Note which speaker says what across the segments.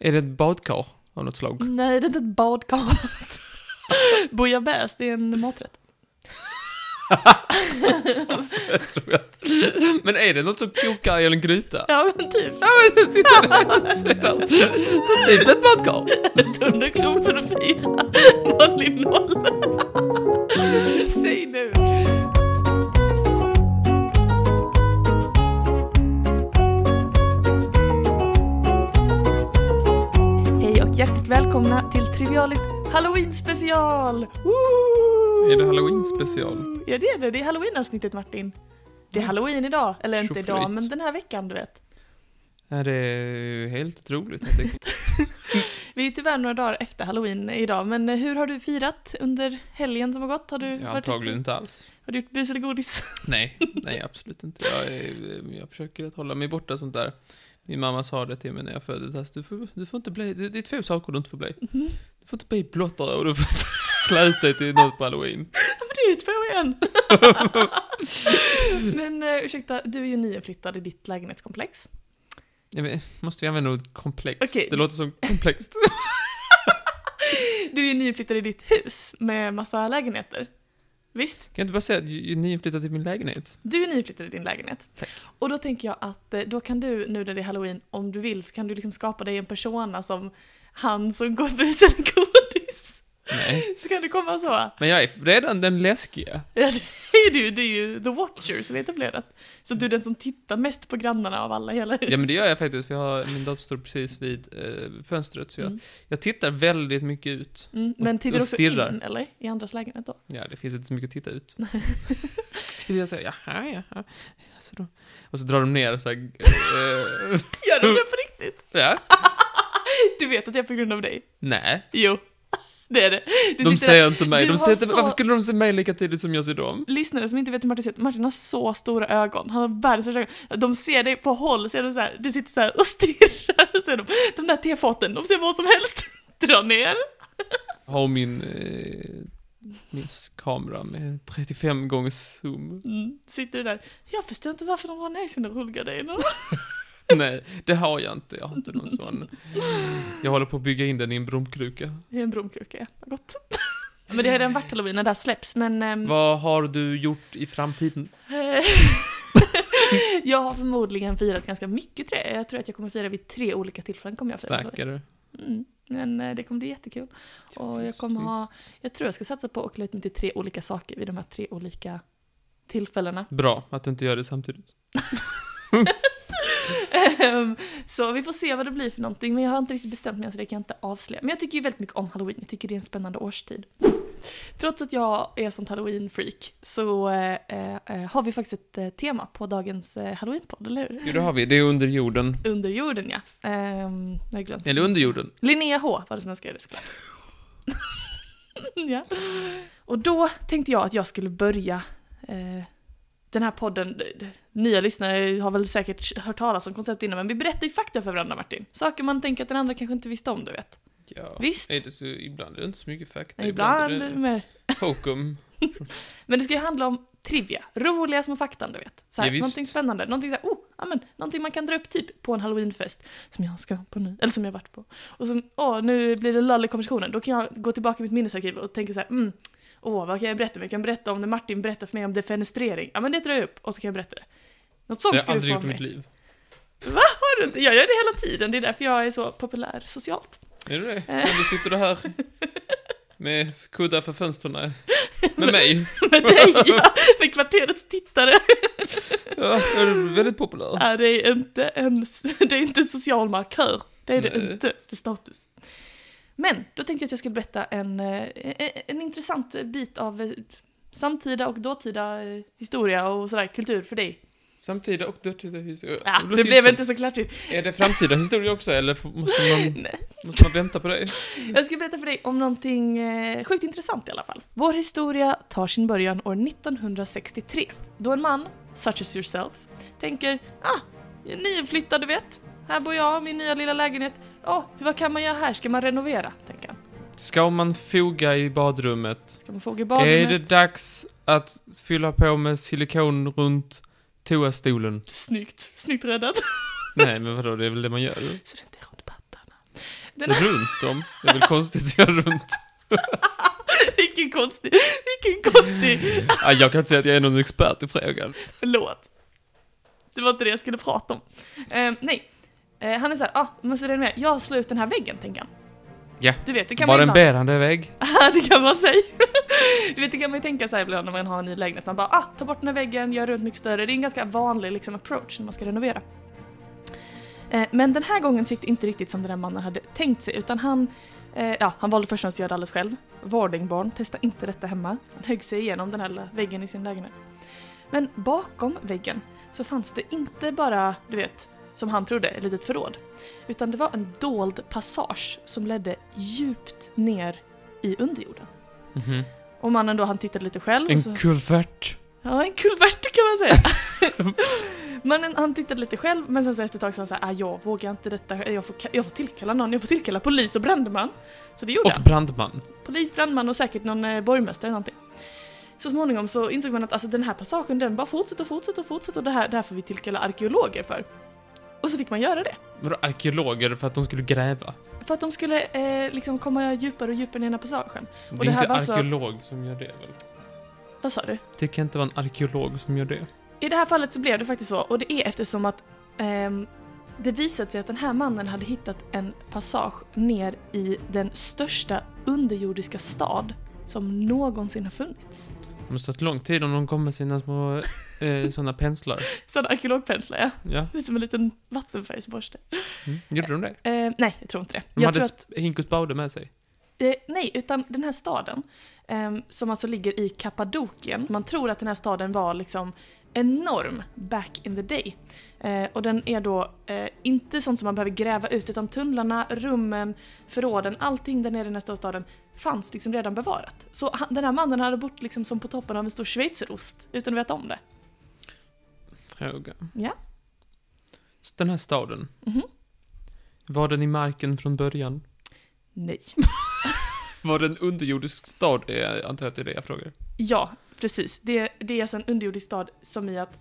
Speaker 1: Är det ett badkar av något slag?
Speaker 2: Nej, det är inte ett badkar. Bouillabaisse, det är en maträtt.
Speaker 1: Jag tror att... Men är det något som kokar i en gryta?
Speaker 2: Ja, men typ.
Speaker 1: Ja, men titta där! Sedan. Så typ ett badkar.
Speaker 2: Ett underklot för att fira. Noll i noll. Säg nu. Hej och hjärtligt välkomna till Trivialist Halloween special! Woo!
Speaker 1: Är det Halloween special?
Speaker 2: Ja det är det, det är halloween-avsnittet Martin. Det är halloween idag, eller inte
Speaker 1: Tjoflöjt.
Speaker 2: idag, men den här veckan du vet.
Speaker 1: Ja, det är ju helt otroligt. Jag tycker.
Speaker 2: Vi är tyvärr några dagar efter halloween idag, men hur har du firat under helgen som har gått? Har du,
Speaker 1: Ja,
Speaker 2: varit
Speaker 1: antagligen
Speaker 2: ute?
Speaker 1: inte alls.
Speaker 2: Har du gjort bus eller godis?
Speaker 1: Nej, nej absolut inte. Jag, är, jag försöker att hålla mig borta sånt där. Min mamma sa det till mig när jag föddes. Alltså, du, får, du får inte bli, det, det är två saker du inte får bli. Du får inte bli blottare och du får inte klä ut dig till något på halloween.
Speaker 2: Ja, men det är ju två igen! men eh, ursäkta, du är ju nyinflyttad i ditt lägenhetskomplex.
Speaker 1: Ja, men, måste vi använda ordet komplext?
Speaker 2: Okej.
Speaker 1: Det låter som komplext.
Speaker 2: Du är ju nyinflyttad i ditt hus med massa lägenheter. Visst?
Speaker 1: Kan jag inte bara säga att ju- ni flyttar till min lägenhet?
Speaker 2: Du är nyinflyttad i din lägenhet.
Speaker 1: Tack.
Speaker 2: Och då tänker jag att eh, då kan du, nu när det är halloween, om du vill så kan du liksom skapa dig en persona som han som går bus eller godis.
Speaker 1: Nej.
Speaker 2: Så kan du komma så.
Speaker 1: Men jag är redan den läskiga.
Speaker 2: Ja, det är du. Det är ju The Watcher som är etablerat. Så du är den som tittar mest på grannarna av alla i hela huset.
Speaker 1: Ja men det gör jag faktiskt, för jag har, min dator står precis vid eh, fönstret, så jag,
Speaker 2: Mm.
Speaker 1: jag tittar väldigt mycket ut.
Speaker 2: Mm, men
Speaker 1: Och-
Speaker 2: tittar
Speaker 1: och
Speaker 2: också
Speaker 1: stirrar.
Speaker 2: in, eller? I andras lägenhet då?
Speaker 1: Ja, det finns inte så mycket att titta ut. så tittar jag såhär, jaha, jaha. Så då, och så drar de ner såhär, eh,
Speaker 2: Gör de det på riktigt?
Speaker 1: ja,
Speaker 2: Du vet att det är på grund av dig?
Speaker 1: nej.
Speaker 2: Jo, det är det. Du
Speaker 1: De
Speaker 2: sitter-
Speaker 1: säger inte mig,
Speaker 2: Du
Speaker 1: de
Speaker 2: har
Speaker 1: säger inte,
Speaker 2: så-
Speaker 1: varför skulle de se mig lika tidigt som jag ser dem?
Speaker 2: Lyssnare som inte vet hur Martin ser ut, Martin har så stora ögon. Han har världens största ögon. De ser dig på håll, ser de så här, du sitter så här och stirrar. Och ser de, de där tefaten, de ser vad som helst. Dra ner.
Speaker 1: Har min, eh, min kamera med 35 gångers zoom.
Speaker 2: Mm, sitter du där. Jag förstår inte varför de har ner sina rullgardiner.
Speaker 1: Nej, det har jag inte. Jag har inte någon sån. Jag håller på att bygga in den i en bromkruka.
Speaker 2: Det är en bromkruka, ja. Vad gott. Men det har redan varit halloween när det här släpps, men... ehm,
Speaker 1: Vad har du gjort i framtiden?
Speaker 2: eh, jag har förmodligen firat ganska mycket tror jag. Jag tror att jag kommer fira vid tre olika tillfällen kommer jag fira. halloween.
Speaker 1: Stackare.
Speaker 2: Mm. Men eh, det kommer bli jättekul. Och jag kommer ha... Jag tror jag ska satsa på att klä ut mig till tre olika saker vid de här tre olika tillfällena.
Speaker 1: Bra att du inte gör det samtidigt.
Speaker 2: Ehm, så vi får se vad det blir för någonting, men jag har inte riktigt bestämt mig än, så det kan jag inte avslöja. Men jag tycker ju väldigt mycket om halloween, jag tycker det är en spännande årstid. Trots att jag är sånt halloween-freak så eh, eh, har vi faktiskt ett eh, tema på dagens eh, halloween-podd, eller hur?
Speaker 1: Jo, det har vi. Det är under jorden.
Speaker 2: Under jorden, ja. Ehm, jag har glömt.
Speaker 1: Eller under jorden.
Speaker 2: Linnea H var det som önskade det såklart. ja. Och då tänkte jag att jag skulle börja eh, den här podden. d- d- Nya lyssnare har väl säkert hört talas om konceptet innan men vi berättar ju fakta för varandra Martin. Saker man tänker att den andra kanske inte visste om du vet.
Speaker 1: Ja.
Speaker 2: Visst.
Speaker 1: Är det så, ibland är det inte så mycket fakta.
Speaker 2: Ibland är det
Speaker 1: är
Speaker 2: mer.
Speaker 1: det hokum.
Speaker 2: Men det ska ju handla om trivia, roliga små faktan du vet. Så här,
Speaker 1: Ja, visst.
Speaker 2: någonting spännande, någonting så här, oh, ja, men, någonting man kan dra upp typ på en halloweenfest som jag ska på nu, eller som jag varit på. Och som, åh nu blir det lall i konversationen, då kan jag gå tillbaka i mitt minnesarkiv och tänka så här, mm, åh vad kan jag berätta? Men Jag kan berätta om när Martin berättar för mig om defenestrering, ja men det drar jag upp och så kan jag berätta det. Något
Speaker 1: Det har
Speaker 2: sånt
Speaker 1: jag
Speaker 2: ska du
Speaker 1: aldrig
Speaker 2: få
Speaker 1: gjort i
Speaker 2: mig.
Speaker 1: mitt liv.
Speaker 2: Har du inte? Jag gör det hela tiden, det är därför jag är så populär socialt.
Speaker 1: Är det
Speaker 2: Eh.
Speaker 1: det? Men du sitter du här med kuddar för fönstren. Med mig.
Speaker 2: Med dig ja, med kvarterets tittare.
Speaker 1: Ja, jag är väldigt populär.
Speaker 2: Nej, det är inte en, det är inte en social markör. Det är det
Speaker 1: Nej.
Speaker 2: inte för status. Men då tänkte jag att jag skulle berätta en, eh, eh, en intressant bit av eh, samtida och dåtida eh, historia och sådär kultur för dig.
Speaker 1: Samtida och dåtida historia.
Speaker 2: Ja,
Speaker 1: låter
Speaker 2: det blev
Speaker 1: intressant.
Speaker 2: inte så klatschigt.
Speaker 1: Är det framtida historia också, eller måste man, måste man vänta på det?
Speaker 2: Jag ska berätta för dig om någonting eh, sjukt intressant i alla fall. Vår historia tar sin början år 1963 då en man, such as yourself, tänker ah, jag är nyinflyttad du vet, här bor jag, min nya lilla lägenhet. Åh, vad kan man göra här? Ska man renovera? Tänker han.
Speaker 1: Ska man foga i badrummet?
Speaker 2: Ska man fråga i badrummet?
Speaker 1: Är det dags att fylla på med silikon runt toastolen?
Speaker 2: Snyggt, snyggt räddat.
Speaker 1: Nej, men vadå, det är väl det man gör?
Speaker 2: Så det inte är runt pattarna. Den här,
Speaker 1: Runt om. Det är väl konstigt att göra runt.
Speaker 2: vilken konstig, vilken konstig,
Speaker 1: Ah, jag kan inte säga att jag är någon expert i frågan.
Speaker 2: förlåt. Det var inte det jag skulle prata om. Eh, nej, Eh, han är såhär, ah, måste renovera, jag slår ut den här väggen, tänker han.
Speaker 1: Ja.
Speaker 2: Du vet, det kan man
Speaker 1: Bara en
Speaker 2: ibland-
Speaker 1: bärande vägg.
Speaker 2: Ja, det kan man säga. Du vet, det kan man ju tänka sig ibland när man har en ny lägenhet. Man bara, ah, ta bort den här väggen, gör runt mycket större. Det är en ganska vanlig liksom, approach när man ska renovera. Eh, Men den här gången så gick det inte riktigt som den där mannen hade tänkt sig utan han, eh, ja, han valde först och främst att göra det alldeles själv. Vardingbarn, testa inte detta hemma. Han högg sig igenom den här lilla väggen i sin lägenhet. Men bakom väggen så fanns det inte bara, du vet, som han trodde, ett litet förråd. Utan det var en dold passage som ledde djupt ner i underjorden.
Speaker 1: Mhm.
Speaker 2: Och mannen då, han tittade lite själv. och Mm, så,
Speaker 1: En kulvert.
Speaker 2: ja, en kulvert kan man säga. mannen, han tittade lite själv, men sen så efter ett tag så han så här, ah, jag vågar inte detta, jag får, jag får tillkalla någon, jag får tillkalla polis och brandman. Så det gjorde
Speaker 1: Och
Speaker 2: han.
Speaker 1: brandman.
Speaker 2: Polis, brandman och säkert någon eh, borgmästare eller någonting. Så småningom så insåg man att alltså, den här passagen den bara fortsätter och fortsätter och fortsätter och det här, det här får vi tillkalla arkeologer för. Och så fick man göra det.
Speaker 1: Vadå arkeologer för att de skulle gräva?
Speaker 2: För att de skulle eh, liksom komma djupare och djupare ner i den här passagen.
Speaker 1: Det är
Speaker 2: det här
Speaker 1: inte
Speaker 2: var så-
Speaker 1: arkeolog som gör det väl?
Speaker 2: Vad sa du?
Speaker 1: Det kan inte vara en arkeolog som gör det.
Speaker 2: I det här fallet så blev det faktiskt så och det är eftersom att ehm, det visat sig att den här mannen hade hittat en passage ner i den största underjordiska stad som någonsin har funnits.
Speaker 1: Det måste ha tagit lång tid om de kom med sina små eh, såna penslar.
Speaker 2: Sån arkeologpenslar ja,
Speaker 1: Ja,
Speaker 2: det är som en liten vattenfärgsborste.
Speaker 1: mm. gjorde de det?
Speaker 2: Eh, nej, jag tror inte det.
Speaker 1: De
Speaker 2: jag
Speaker 1: hade
Speaker 2: tror att,
Speaker 1: sp- Hinkus Baude med sig.
Speaker 2: eh, nej, utan den här staden ehm, som alltså ligger i Kappadokien, man tror att den här staden var liksom enorm back in the day. Eh, och den är då eh, inte sånt som man behöver gräva ut utan tunnlarna, rummen, förråden, allting där nere i den här stora staden fanns liksom redan bevarat. Så han, den här mannen hade bott liksom som på toppen av en stor schweizerost utan att veta om det.
Speaker 1: Fråga.
Speaker 2: Ja.
Speaker 1: Så den här staden,
Speaker 2: Mhm.
Speaker 1: var den i marken från början?
Speaker 2: Nej.
Speaker 1: Var den underjordisk stad? Eh, Jag antar att det är det jag frågar.
Speaker 2: Ja, precis. Det, det är alltså en underjordisk stad som i att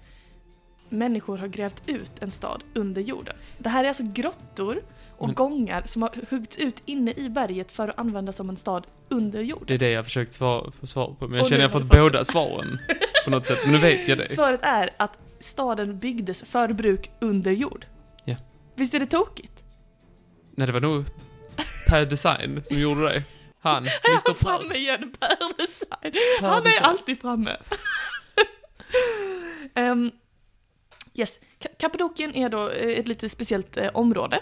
Speaker 2: människor har grävt ut en stad under jorden. Det här är alltså grottor och
Speaker 1: Men-
Speaker 2: gångar som har huggts ut inne i berget för att användas som en stad under jord.
Speaker 1: Det är det jag försökt svara, få svar på, men
Speaker 2: Och
Speaker 1: jag
Speaker 2: nu
Speaker 1: känner jag
Speaker 2: har du
Speaker 1: fått
Speaker 2: fått
Speaker 1: båda svaren på något sätt. Men nu vet jag det.
Speaker 2: Svaret är att staden byggdes för bruk under jord.
Speaker 1: Ja.
Speaker 2: Visst är det tokigt?
Speaker 1: Nej, det var nog Per Design som gjorde det. Han,
Speaker 2: Här är
Speaker 1: Mr.
Speaker 2: han
Speaker 1: Per.
Speaker 2: framme igen, Per Design.
Speaker 1: Per
Speaker 2: Han är
Speaker 1: Design.
Speaker 2: alltid framme. Ehm, yes, Ka- Kappadokien är då eh, ett lite speciellt eh, område.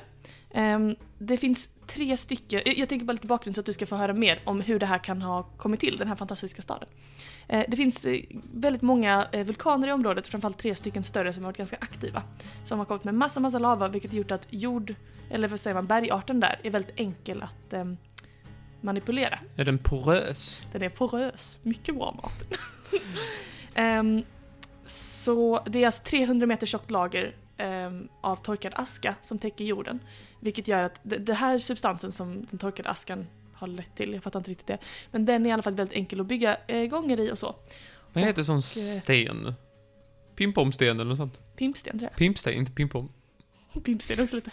Speaker 2: Ehm, det finns tre stycken, jag- jag tänker bara lite bakgrund så att du ska få höra mer om hur det här kan ha kommit till, den här fantastiska staden. Eh, det finns eh, väldigt många eh, vulkaner i området, framförallt tre stycken större som har varit ganska aktiva. Som har kommit med massa, massa lava vilket gjort att jord, eller vad säger man, bergarten där är väldigt enkel att ehm, manipulera.
Speaker 1: Är den porös?
Speaker 2: Den är porös. Mycket bra Martin. Ehm, så det är alltså 300 meter tjockt lager ehm, av torkad aska som täcker jorden. Vilket gör att d- den här substansen som den torkade askan har lett till, jag fattar inte riktigt det. Men den är i alla fall väldigt enkel att bygga eh, gånger i och eh, så.
Speaker 1: Vad heter sån sten? Pimpomsten eller något sånt?
Speaker 2: Pimpsten tror
Speaker 1: Pimpsten, inte pimpom.
Speaker 2: jag. Pimpsten också lite.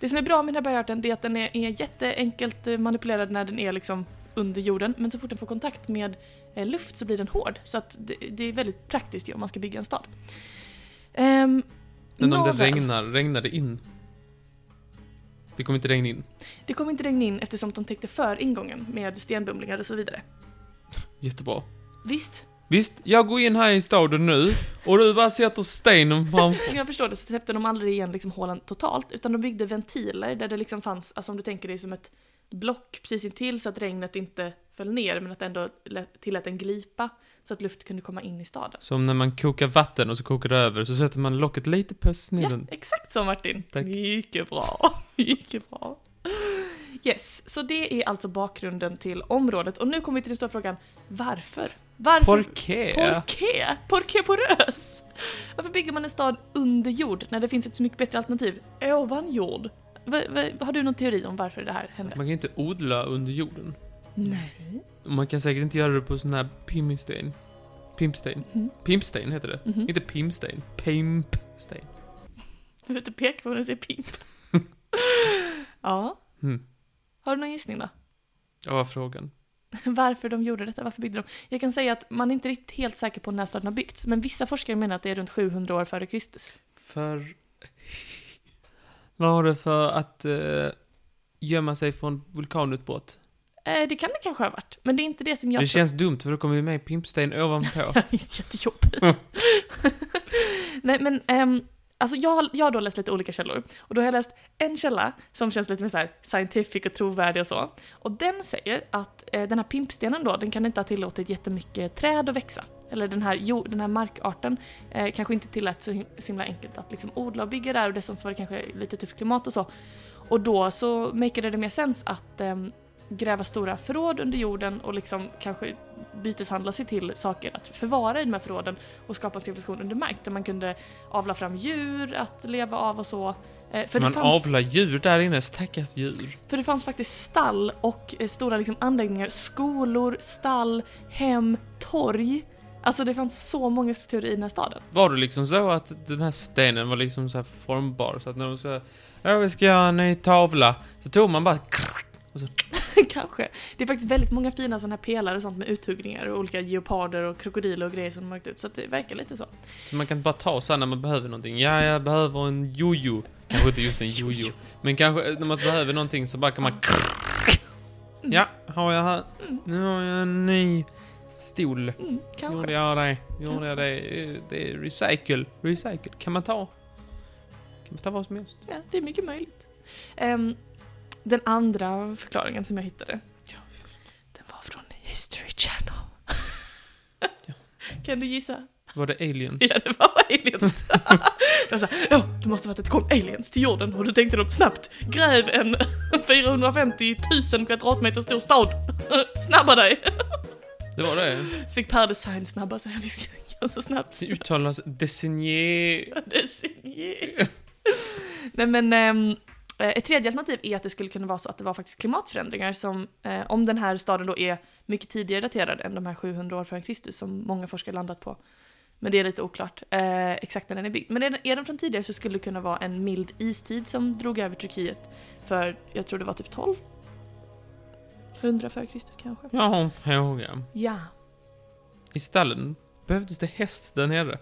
Speaker 2: Det som är bra med den här bergarten det är att den är, är jätteenkelt eh, manipulerad när den är liksom under jorden. Men så fort den får kontakt med eh, luft så blir den hård. Så att det, det är väldigt praktiskt ju om man ska bygga en stad. Ehm,
Speaker 1: Men om det
Speaker 2: nåväl.
Speaker 1: regnar, regnar det in? Det kommer inte regna in.
Speaker 2: Det kom inte regn in eftersom de täckte för ingången med stenbumlingar och så vidare.
Speaker 1: Jättebra.
Speaker 2: Visst,
Speaker 1: Visst, jag går in här i staden nu och du bara sätter stenen framför.
Speaker 2: som jag förstår det så täppte de aldrig igen liksom hålen totalt utan de byggde ventiler där det liksom fanns, alltså om du tänker dig som ett block precis intill så att regnet inte föll ner men att det ändå lät- tillät en glipa så att luft kunde komma in i staden.
Speaker 1: Som när man kokar vatten och så kokar det över, så sätter man locket lite på
Speaker 2: Ja,
Speaker 1: snillen.
Speaker 2: exakt så Martin.
Speaker 1: Tack.
Speaker 2: Mycket bra. Mycket bra. Yes, så det är alltså bakgrunden till området och nu kommer vi till den stora frågan varför? Varför?
Speaker 1: Porqué?
Speaker 2: Porqué? Porqué porös? Varför bygger man en stad under jord när det finns ett så mycket bättre alternativ ovan jord? Va, va, har du någon teori om varför det här
Speaker 1: Man
Speaker 2: hände?
Speaker 1: kan ju inte odla under jorden.
Speaker 2: Nej.
Speaker 1: Och Man kan säkert inte göra det på sån här pimmisten. Pimpsten.
Speaker 2: Mhm.
Speaker 1: Pimpsten heter det.
Speaker 2: Mhm.
Speaker 1: Mm. Inte pimsten. Pimpsten.
Speaker 2: Du behöver inte peka på när du säger pimp. Ja.
Speaker 1: Mm.
Speaker 2: Har du någon gissning då?
Speaker 1: Ja, vad var frågan?
Speaker 2: Varför de gjorde detta? Varför byggde de? Jag kan säga att man är inte riktigt helt säker på när staden har byggts, men vissa forskare menar att det är runt 700 år före Kristus.
Speaker 1: För... Vad har du för att eh, gömma sig från vulkanutbrott?
Speaker 2: Eh, det kan det kanske ha varit, men det är inte det som jag
Speaker 1: det
Speaker 2: tror.
Speaker 1: känns dumt för då kommer vi med i pimpsten ovanpå.
Speaker 2: Det känns jättejobbigt. Nej, men ehm, alltså jag, har- jag har då läst lite olika källor. Och då har jag läst en källa som känns lite mer så här scientific och trovärdig och så. Och den säger att eh, den här pimpstenen då, den kan inte ha tillåtit jättemycket träd att växa. Eller den här, jo, den här markarten eh, kanske inte tillät så him- så himla enkelt att liksom odla och bygga där och dessutom så var det kanske lite tufft klimat och så. Och då så makade det mer sens att ehm, gräva stora förråd under jorden och liksom kanske byteshandla sig till saker att förvara i de här förråden och skapa en civilisation under mark där man kunde avla fram djur att leva av och så. Eh, för det
Speaker 1: Man
Speaker 2: fanns-
Speaker 1: avlar djur där inne, stackars djur.
Speaker 2: för det fanns faktiskt stall och eh, stora liksom, anläggningar, skolor, stall, hem, torg. Alltså det fanns så många strukturer i den här staden.
Speaker 1: Var det liksom så att den här stenen var liksom så här formbar så att när de sa ja vi ska göra en ny tavla så tog man bara
Speaker 2: Kanske. Det är faktiskt väldigt många fina sådana här pelare och sånt med uthuggningar och olika geoparder och krokodiler och grejer som de har lagt ut. Så att det verkar lite så.
Speaker 1: så man kan bara ta så här när man behöver någonting. Ja, jag behöver en jojo. Kanske inte just en jojo, men kanske eh, när man behöver någonting så bara kan man Ja, har jag här. Nu har jag en ny stol.
Speaker 2: Mm, kanske.
Speaker 1: Gjorde jag det? Gjorde jag det? Eh, Det är recycle. Recycle. Kan man ta? Kan man ta vad som helst?
Speaker 2: Ja, det är mycket möjligt. Ehm, den andra förklaringen som jag hittade, den var från History Channel.
Speaker 1: Ja.
Speaker 2: Kan du gissa?
Speaker 1: Var det alien?
Speaker 2: Ja, det var aliens. jag sa, ja, det måste varit att det kom aliens till jorden och då tänkte de snabbt, gräv en 450 000 kvadratmeter stor stad. Snabba dig!
Speaker 1: Det var det.
Speaker 2: Så fick Per Design snabba sig, vi ska göra så snabbt.
Speaker 1: Det uttalas designé...
Speaker 2: Design. Nej men, ehm, ett tredje alternativ är att det skulle kunna vara så att det var faktiskt klimatförändringar som, eh, om den här staden då är mycket tidigare daterad än de här 700 år före Kristus som många forskare landat på. Men det är lite oklart eh, exakt när den är byggd. Men är den, är den från tidigare så skulle det kunna vara en mild istid som drog över Turkiet för, jag tror det var typ 12? 100 före Kristus kanske?
Speaker 1: Jag har en fråga.
Speaker 2: Ja.
Speaker 1: I stallen behövdes det häst där nere.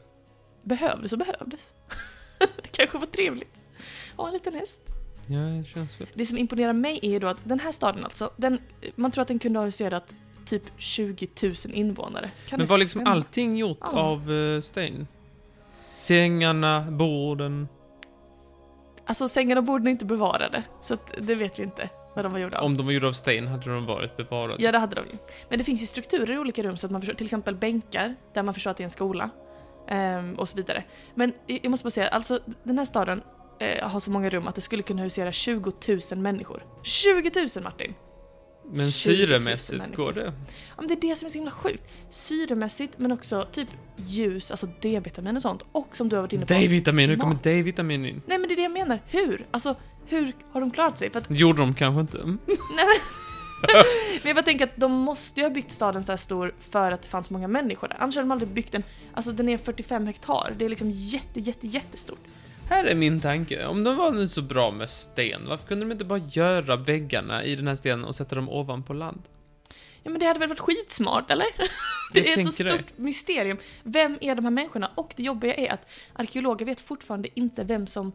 Speaker 2: Behövdes och behövdes. det kanske var trevligt. Ja, en liten häst.
Speaker 1: Ja, det känns väl.
Speaker 2: Det som imponerar mig är ju då att den här staden alltså, den, man tror att den kunde ha huserat typ 20 000 invånare. Kan
Speaker 1: Men
Speaker 2: det
Speaker 1: var liksom
Speaker 2: stämma?
Speaker 1: allting gjort
Speaker 2: Ja.
Speaker 1: av eh, sten? Sängarna, borden.
Speaker 2: Alltså sängarna och borden är inte bevarade, så att, det vet vi inte vad de var gjorda av.
Speaker 1: Om de var gjorda av sten hade de varit bevarade.
Speaker 2: Ja, det hade de ju. Men det finns ju strukturer i olika rum, så att man förstår, till exempel bänkar, där man förstår att det är en skola. ehm, och så vidare. Men jag jag måste bara säga, alltså den här staden eh, har så många rum att det skulle kunna husera 20 000 människor. 20 000 Martin!
Speaker 1: Men
Speaker 2: 20 000
Speaker 1: syremässigt
Speaker 2: människor.
Speaker 1: går det.
Speaker 2: Ja, men det är det som är så himla sjukt. Syremässigt men också typ ljus, alltså D-vitamin och sånt. Och som du har varit inne på.
Speaker 1: D-vitamin, nu kommer
Speaker 2: Mat.
Speaker 1: D-vitamin in.
Speaker 2: Nej men det är det jag menar. Hur? Alltså hur har de klarat sig? För att,
Speaker 1: Det gjorde de kanske inte. Mm.
Speaker 2: nej men. men jag bara tänker att de måste ju ha byggt staden så här stor för att det fanns många människor där. Annars hade de aldrig byggt den. Alltså den är 45 hektar. Det är liksom jätte, jätte, jättestort.
Speaker 1: Här är min tanke. Om de var nu så bra med sten, varför kunde de inte bara göra väggarna i den här stenen och sätta dem ovanpå land?
Speaker 2: Ja men det hade väl varit skitsmart eller? Det
Speaker 1: Jag
Speaker 2: är ett så
Speaker 1: tänker det.
Speaker 2: stort mysterium. Vem är de här människorna? Och det jobbiga är att arkeologer vet fortfarande inte vem som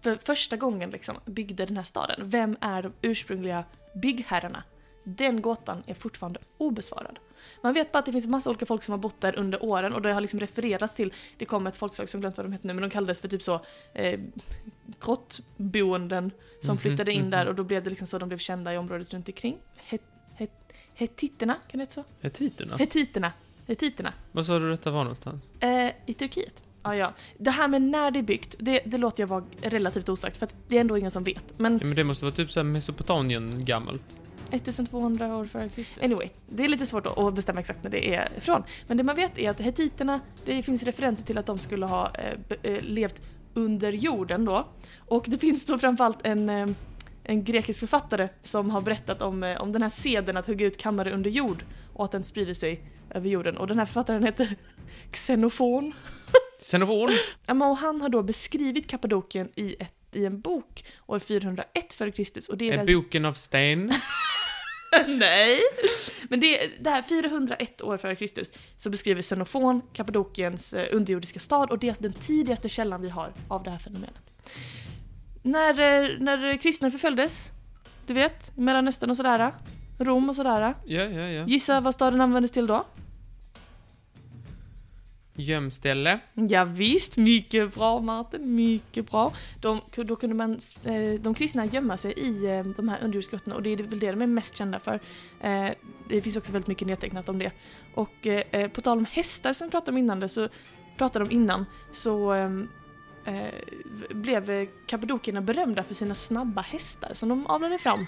Speaker 2: för första gången liksom byggde den här staden. Vem är de ursprungliga byggherrarna? Den gåtan är fortfarande obesvarad. Man vet bara att det finns en massa olika folk som har bott där under åren och det har liksom refererats till, det kom ett folkslag som jag glömt vad de hette nu, men de kallades för typ så eh, grottboenden som
Speaker 1: Mhm,
Speaker 2: flyttade in
Speaker 1: mhm.
Speaker 2: där och då blev det liksom så de blev kända i området runt omkring. Het, het, hettiterna, kan det heta så?
Speaker 1: Hettiterna?
Speaker 2: Hettiterna. Hettiterna.
Speaker 1: Vad sa du detta var någonstans?
Speaker 2: Eh, I Turkiet. Ja, ja. Det här med när det är byggt, det, det låter jag vara relativt osagt för att det är ändå ingen som vet. Men
Speaker 1: Ja, men det måste vara typ såhär Mesopotamien gammalt.
Speaker 2: 1200 år före Kristus. Anyway, det är lite svårt att- att bestämma exakt när det är ifrån. Men det man vet är att hettiterna, det finns referenser till att de skulle ha eh, be, eh, levt under jorden då. Och det finns då framförallt en, eh, en grekisk författare som har berättat om, eh, om den här seden att hugga ut kammare under jord och att den sprider sig över jorden. Och den här författaren heter Xenofon.
Speaker 1: Xenofon!
Speaker 2: Ja, men och han har då beskrivit Kappadokien i ett skrivet i en bok år 401 f.Kr. och det är
Speaker 1: Är
Speaker 2: väl-
Speaker 1: boken av sten?
Speaker 2: Nej! Men det, det här 401 år före Kristus så beskriver Xenofon Kappadokiens eh, underjordiska stad och det är alltså den tidigaste källan vi har av det här fenomenet. När, eh, när kristna förföljdes, du vet, Mellanöstern och sådär, Rom och sådär.
Speaker 1: Ja, ja, ja.
Speaker 2: Gissa vad staden användes till då?
Speaker 1: Gömställe.
Speaker 2: Ja, visst, mycket bra Martin, mycket bra. De, då kunde man, eh, de kristna gömma sig i eh, de här underjordsgrottorna och det är väl det de är mest kända för. Eh, Det finns också väldigt mycket nedtecknat om det. Och eh, eh, på tal om hästar som vi pratade om innan, det, så pratade om innan, så ehm, eh, blev eh, kappadokierna berömda för sina snabba hästar som de avlade fram.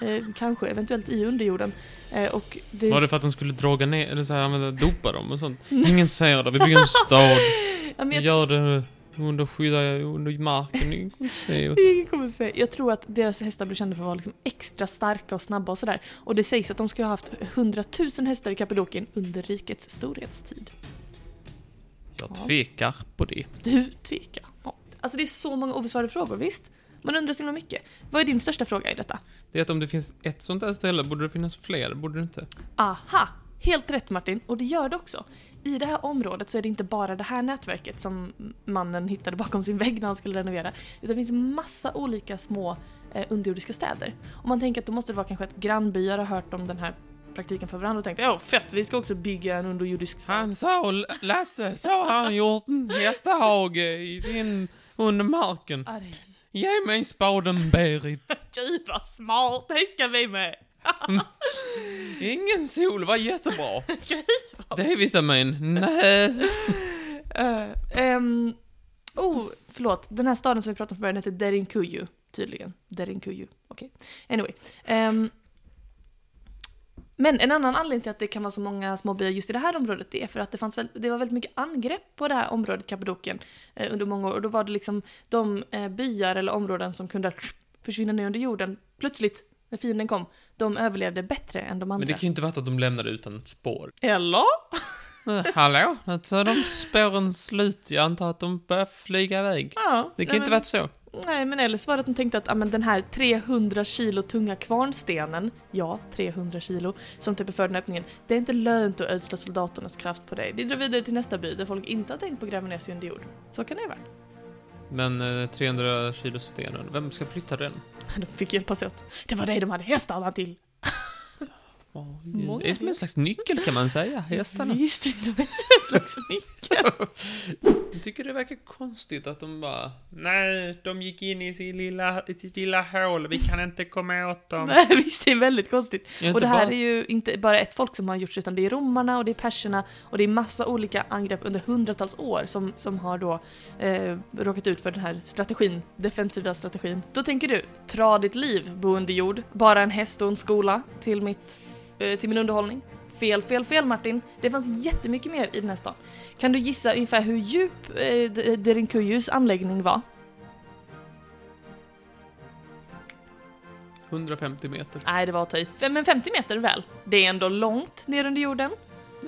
Speaker 2: Eh, kanske, eventuellt i underjorden. Eh, och det,
Speaker 1: Var det för att de skulle droga ner, eller så här, använda, dopa dem och sånt? Ingen säger det, vi bygger en stad.
Speaker 2: Ja, men
Speaker 1: Vi
Speaker 2: jag
Speaker 1: gör det under skydda, under marken. Ingen kommer se oss.
Speaker 2: Ingen kommer säga. Jag tror att deras hästar blev kända för att vara liksom extra starka och snabba och sådär. Och det sägs att de ska ha haft 100 000 hästar i Kappadokien under rikets storhetstid.
Speaker 1: Jag tvekar på det.
Speaker 2: Du tvekar. Ja. Alltså det är så många obesvarade frågor, visst? Man undrar så himla mycket. Vad är din största fråga i detta?
Speaker 1: Det är att om det finns ett sånt här ställe, borde det finnas fler? Borde det inte?
Speaker 2: Aha! Helt rätt Martin, och det gör det också. I det här området så är det inte bara det här nätverket som mannen hittade bakom sin vägg när han skulle renovera, utan det finns massa olika små eh, underjordiska städer. Om man tänker att då måste det vara kanske att grannbyar har hört om den här praktiken för varandra och tänkt ja fett, vi ska också bygga en underjordisk stad.
Speaker 1: Han sa, Lasse, så har han gjort en hästhage i sin, under marken.
Speaker 2: Arg.
Speaker 1: Ge mig spaden, Berit.
Speaker 2: Gud vad smart, det ska vi med!
Speaker 1: Ingen sol, var jättebra.
Speaker 2: Gud
Speaker 1: D-vitamin, nej.
Speaker 2: Eh, ehm, oh, förlåt. Den här staden som vi pratade om från början heter Derinkuyu, tydligen. Derinkuyu, okej. Anyway. ehm, men en annan anledning till att det kan vara så många små byar just i det här området det är för att det, fanns väl, det var väldigt mycket angrepp på det här området, Kappadokien, eh, under många år. Och då var det liksom de eh, byar eller områden som kunde försvinna ner under jorden plötsligt, när fienden kom, de överlevde bättre än de andra.
Speaker 1: Men det kan ju inte vara att de lämnade utan ett spår.
Speaker 2: Eller?
Speaker 1: Eh, Hallå, alltså är de spåren slut. Jag antar att de börjar flyga iväg.
Speaker 2: Ja,
Speaker 1: Det kan
Speaker 2: nej,
Speaker 1: ju inte
Speaker 2: men-
Speaker 1: varit så.
Speaker 2: Nej, men eller så var det att de tänkte att ja, men den här 300 kilo tunga kvarnstenen, ja, 300 kilo, som täpper för den här öppningen, det är inte lönt att ödsla soldaternas kraft på dig. Vi drar vidare till nästa by där folk inte har tänkt på att gräva ner sig under jord. Så kan det ju vara.
Speaker 1: Men eh, 300 kilo stenen, vem ska flytta den?
Speaker 2: De fick hjälpas åt. Det var det de hade hästarna till!
Speaker 1: Ja,
Speaker 2: Många
Speaker 1: Det är som en slags nyckel kan man säga, hästarna.
Speaker 2: Visst, de är ett slags nyckel.
Speaker 1: Jag tycker det verkar konstigt att de bara, nej, de gick in i sitt lilla, i sitt lilla hål, vi kan inte komma åt dem.
Speaker 2: Nej, visst, det är väldigt konstigt.
Speaker 1: Är inte
Speaker 2: Och det här
Speaker 1: bara-
Speaker 2: är ju inte bara ett folk som har gjort utan det är romarna och det är perserna och det är massa olika angrepp under hundratals år som, som har då eh, råkat ut för den här strategin, defensiva strategin. Då tänker du, tra ditt liv, bo under jord, bara en häst och en skola till, mitt, eh, till min underhållning. Fel, fel, fel Martin. Det fanns jättemycket mer i den här stan. Kan du gissa ungefär hur djup eh, D- Derinkuyus anläggning var?
Speaker 1: 150 meter.
Speaker 2: Nej, det var att ta i. Fem- Men 50 meter väl? Det är ändå långt ner under jorden.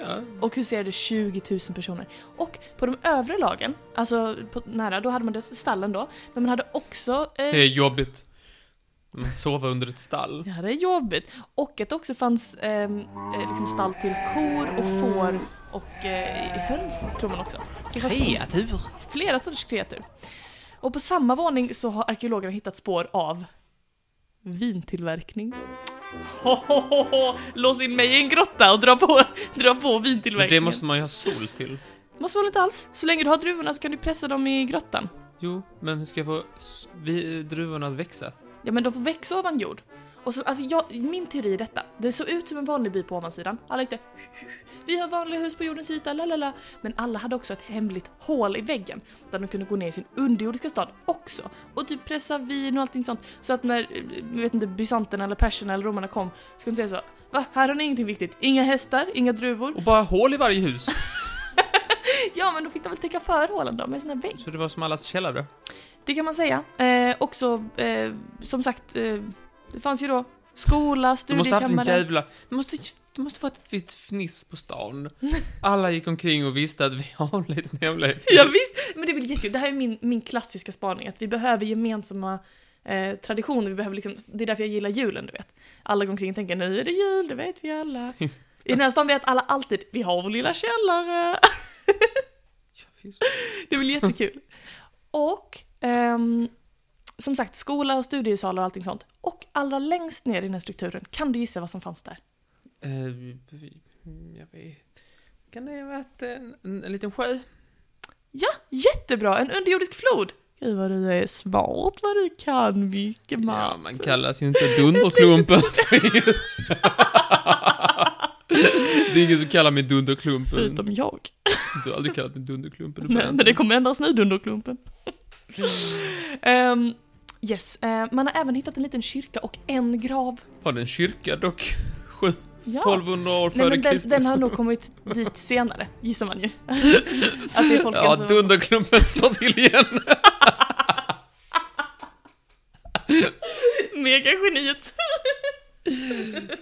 Speaker 1: Ja,
Speaker 2: och huserade 20 000 personer. Och på de övre lagen, alltså på, nära, då hade man dels stallen då, men man hade också...
Speaker 1: det är
Speaker 2: Eh,
Speaker 1: jobbigt. Man sover under ett stall.
Speaker 2: det här är jobbigt. Och att det också fanns ehm, eh, liksom stall till kor och får och eh, höns, tror man också. Så det fanns
Speaker 1: Kreatur.
Speaker 2: flera sorters kreatur. Och på samma våning så har arkeologerna hittat spår av vintillverkning. Hohohoho! Lås in mig i en grotta och dra på, dra på
Speaker 1: Men det
Speaker 2: vintillverkningen.
Speaker 1: måste man ju ha sol till.
Speaker 2: Måste man inte alls. Så länge du har druvorna så kan du pressa dem i grottan.
Speaker 1: Jo, men hur ska jag få s- vi, druvorna att växa?
Speaker 2: Ja men de får växa ovan jord. Och så, alltså jag, min teori är detta. Det såg ut som en vanlig by på ovansidan. Alla gick där. Vi har vanliga hus på jordens yta, lalala. Men alla hade också ett hemligt hål i väggen. Där de kunde gå ner i sin underjordiska stad också. Och typ pressa vin och allting sånt. Så att när, eh, jag vet inte, bysanterna eller perserna eller romarna kom. Så kunde de säga så. Va? Här har ni ingenting viktigt. Inga hästar, inga druvor.
Speaker 1: Och bara hål i varje hus.
Speaker 2: Ja men då fick de väl täcka för hålen då med sina vägg.
Speaker 1: Så det var som allas källare.
Speaker 2: Det kan man säga. Eh, också, eh, som sagt, eh, det fanns ju då skola,
Speaker 1: Du måste haft en
Speaker 2: studiekammare.
Speaker 1: jävla... Det måste, det måste varit ett visst fniss på stan. Alla gick omkring och visste att vi har en liten hemlighet.
Speaker 2: Ja, visst, men det är väl jättekul. Det här är min, min klassiska spaning, att vi behöver gemensamma eh, traditioner. Vi behöver liksom, det är därför jag gillar julen, du vet. Alla går omkring och tänker nu är det jul, det vet vi alla. I den här stan vet alla alltid, vi har vår lilla källare.
Speaker 1: Ja, visst.
Speaker 2: Det är väl jättekul. Och ehm, som sagt, skola och studiesalar och allting sånt. Och allra längst ner i den här strukturen, kan du gissa vad som fanns där?
Speaker 1: Eh, vi- mm, jag vet. Kan det ha varit en, en, en liten sjö?
Speaker 2: Ja, jättebra! En underjordisk flod! Gud vad du är smart, vad du kan mycket
Speaker 1: Ja,
Speaker 2: man.
Speaker 1: man kallas ju inte dunderklumpen. det är ingen som kallar mig dunderklumpen.
Speaker 2: Förutom jag.
Speaker 1: Du har aldrig kallat mig dunderklumpen. du
Speaker 2: Nej, men det kommer ändras nu, Dunderklumpen. Ehm, yes, eh, man har även hittat en liten kyrka och en grav.
Speaker 1: Har den kyrka dock? Sju-
Speaker 2: Ja.
Speaker 1: 1200 år
Speaker 2: Nej,
Speaker 1: före
Speaker 2: men den,
Speaker 1: Kristus.
Speaker 2: den har nog kommit dit senare, gissar man ju. Att det är alltså- folken
Speaker 1: Ja,
Speaker 2: som...
Speaker 1: dunderklumpen slår till igen.
Speaker 2: Megageniet.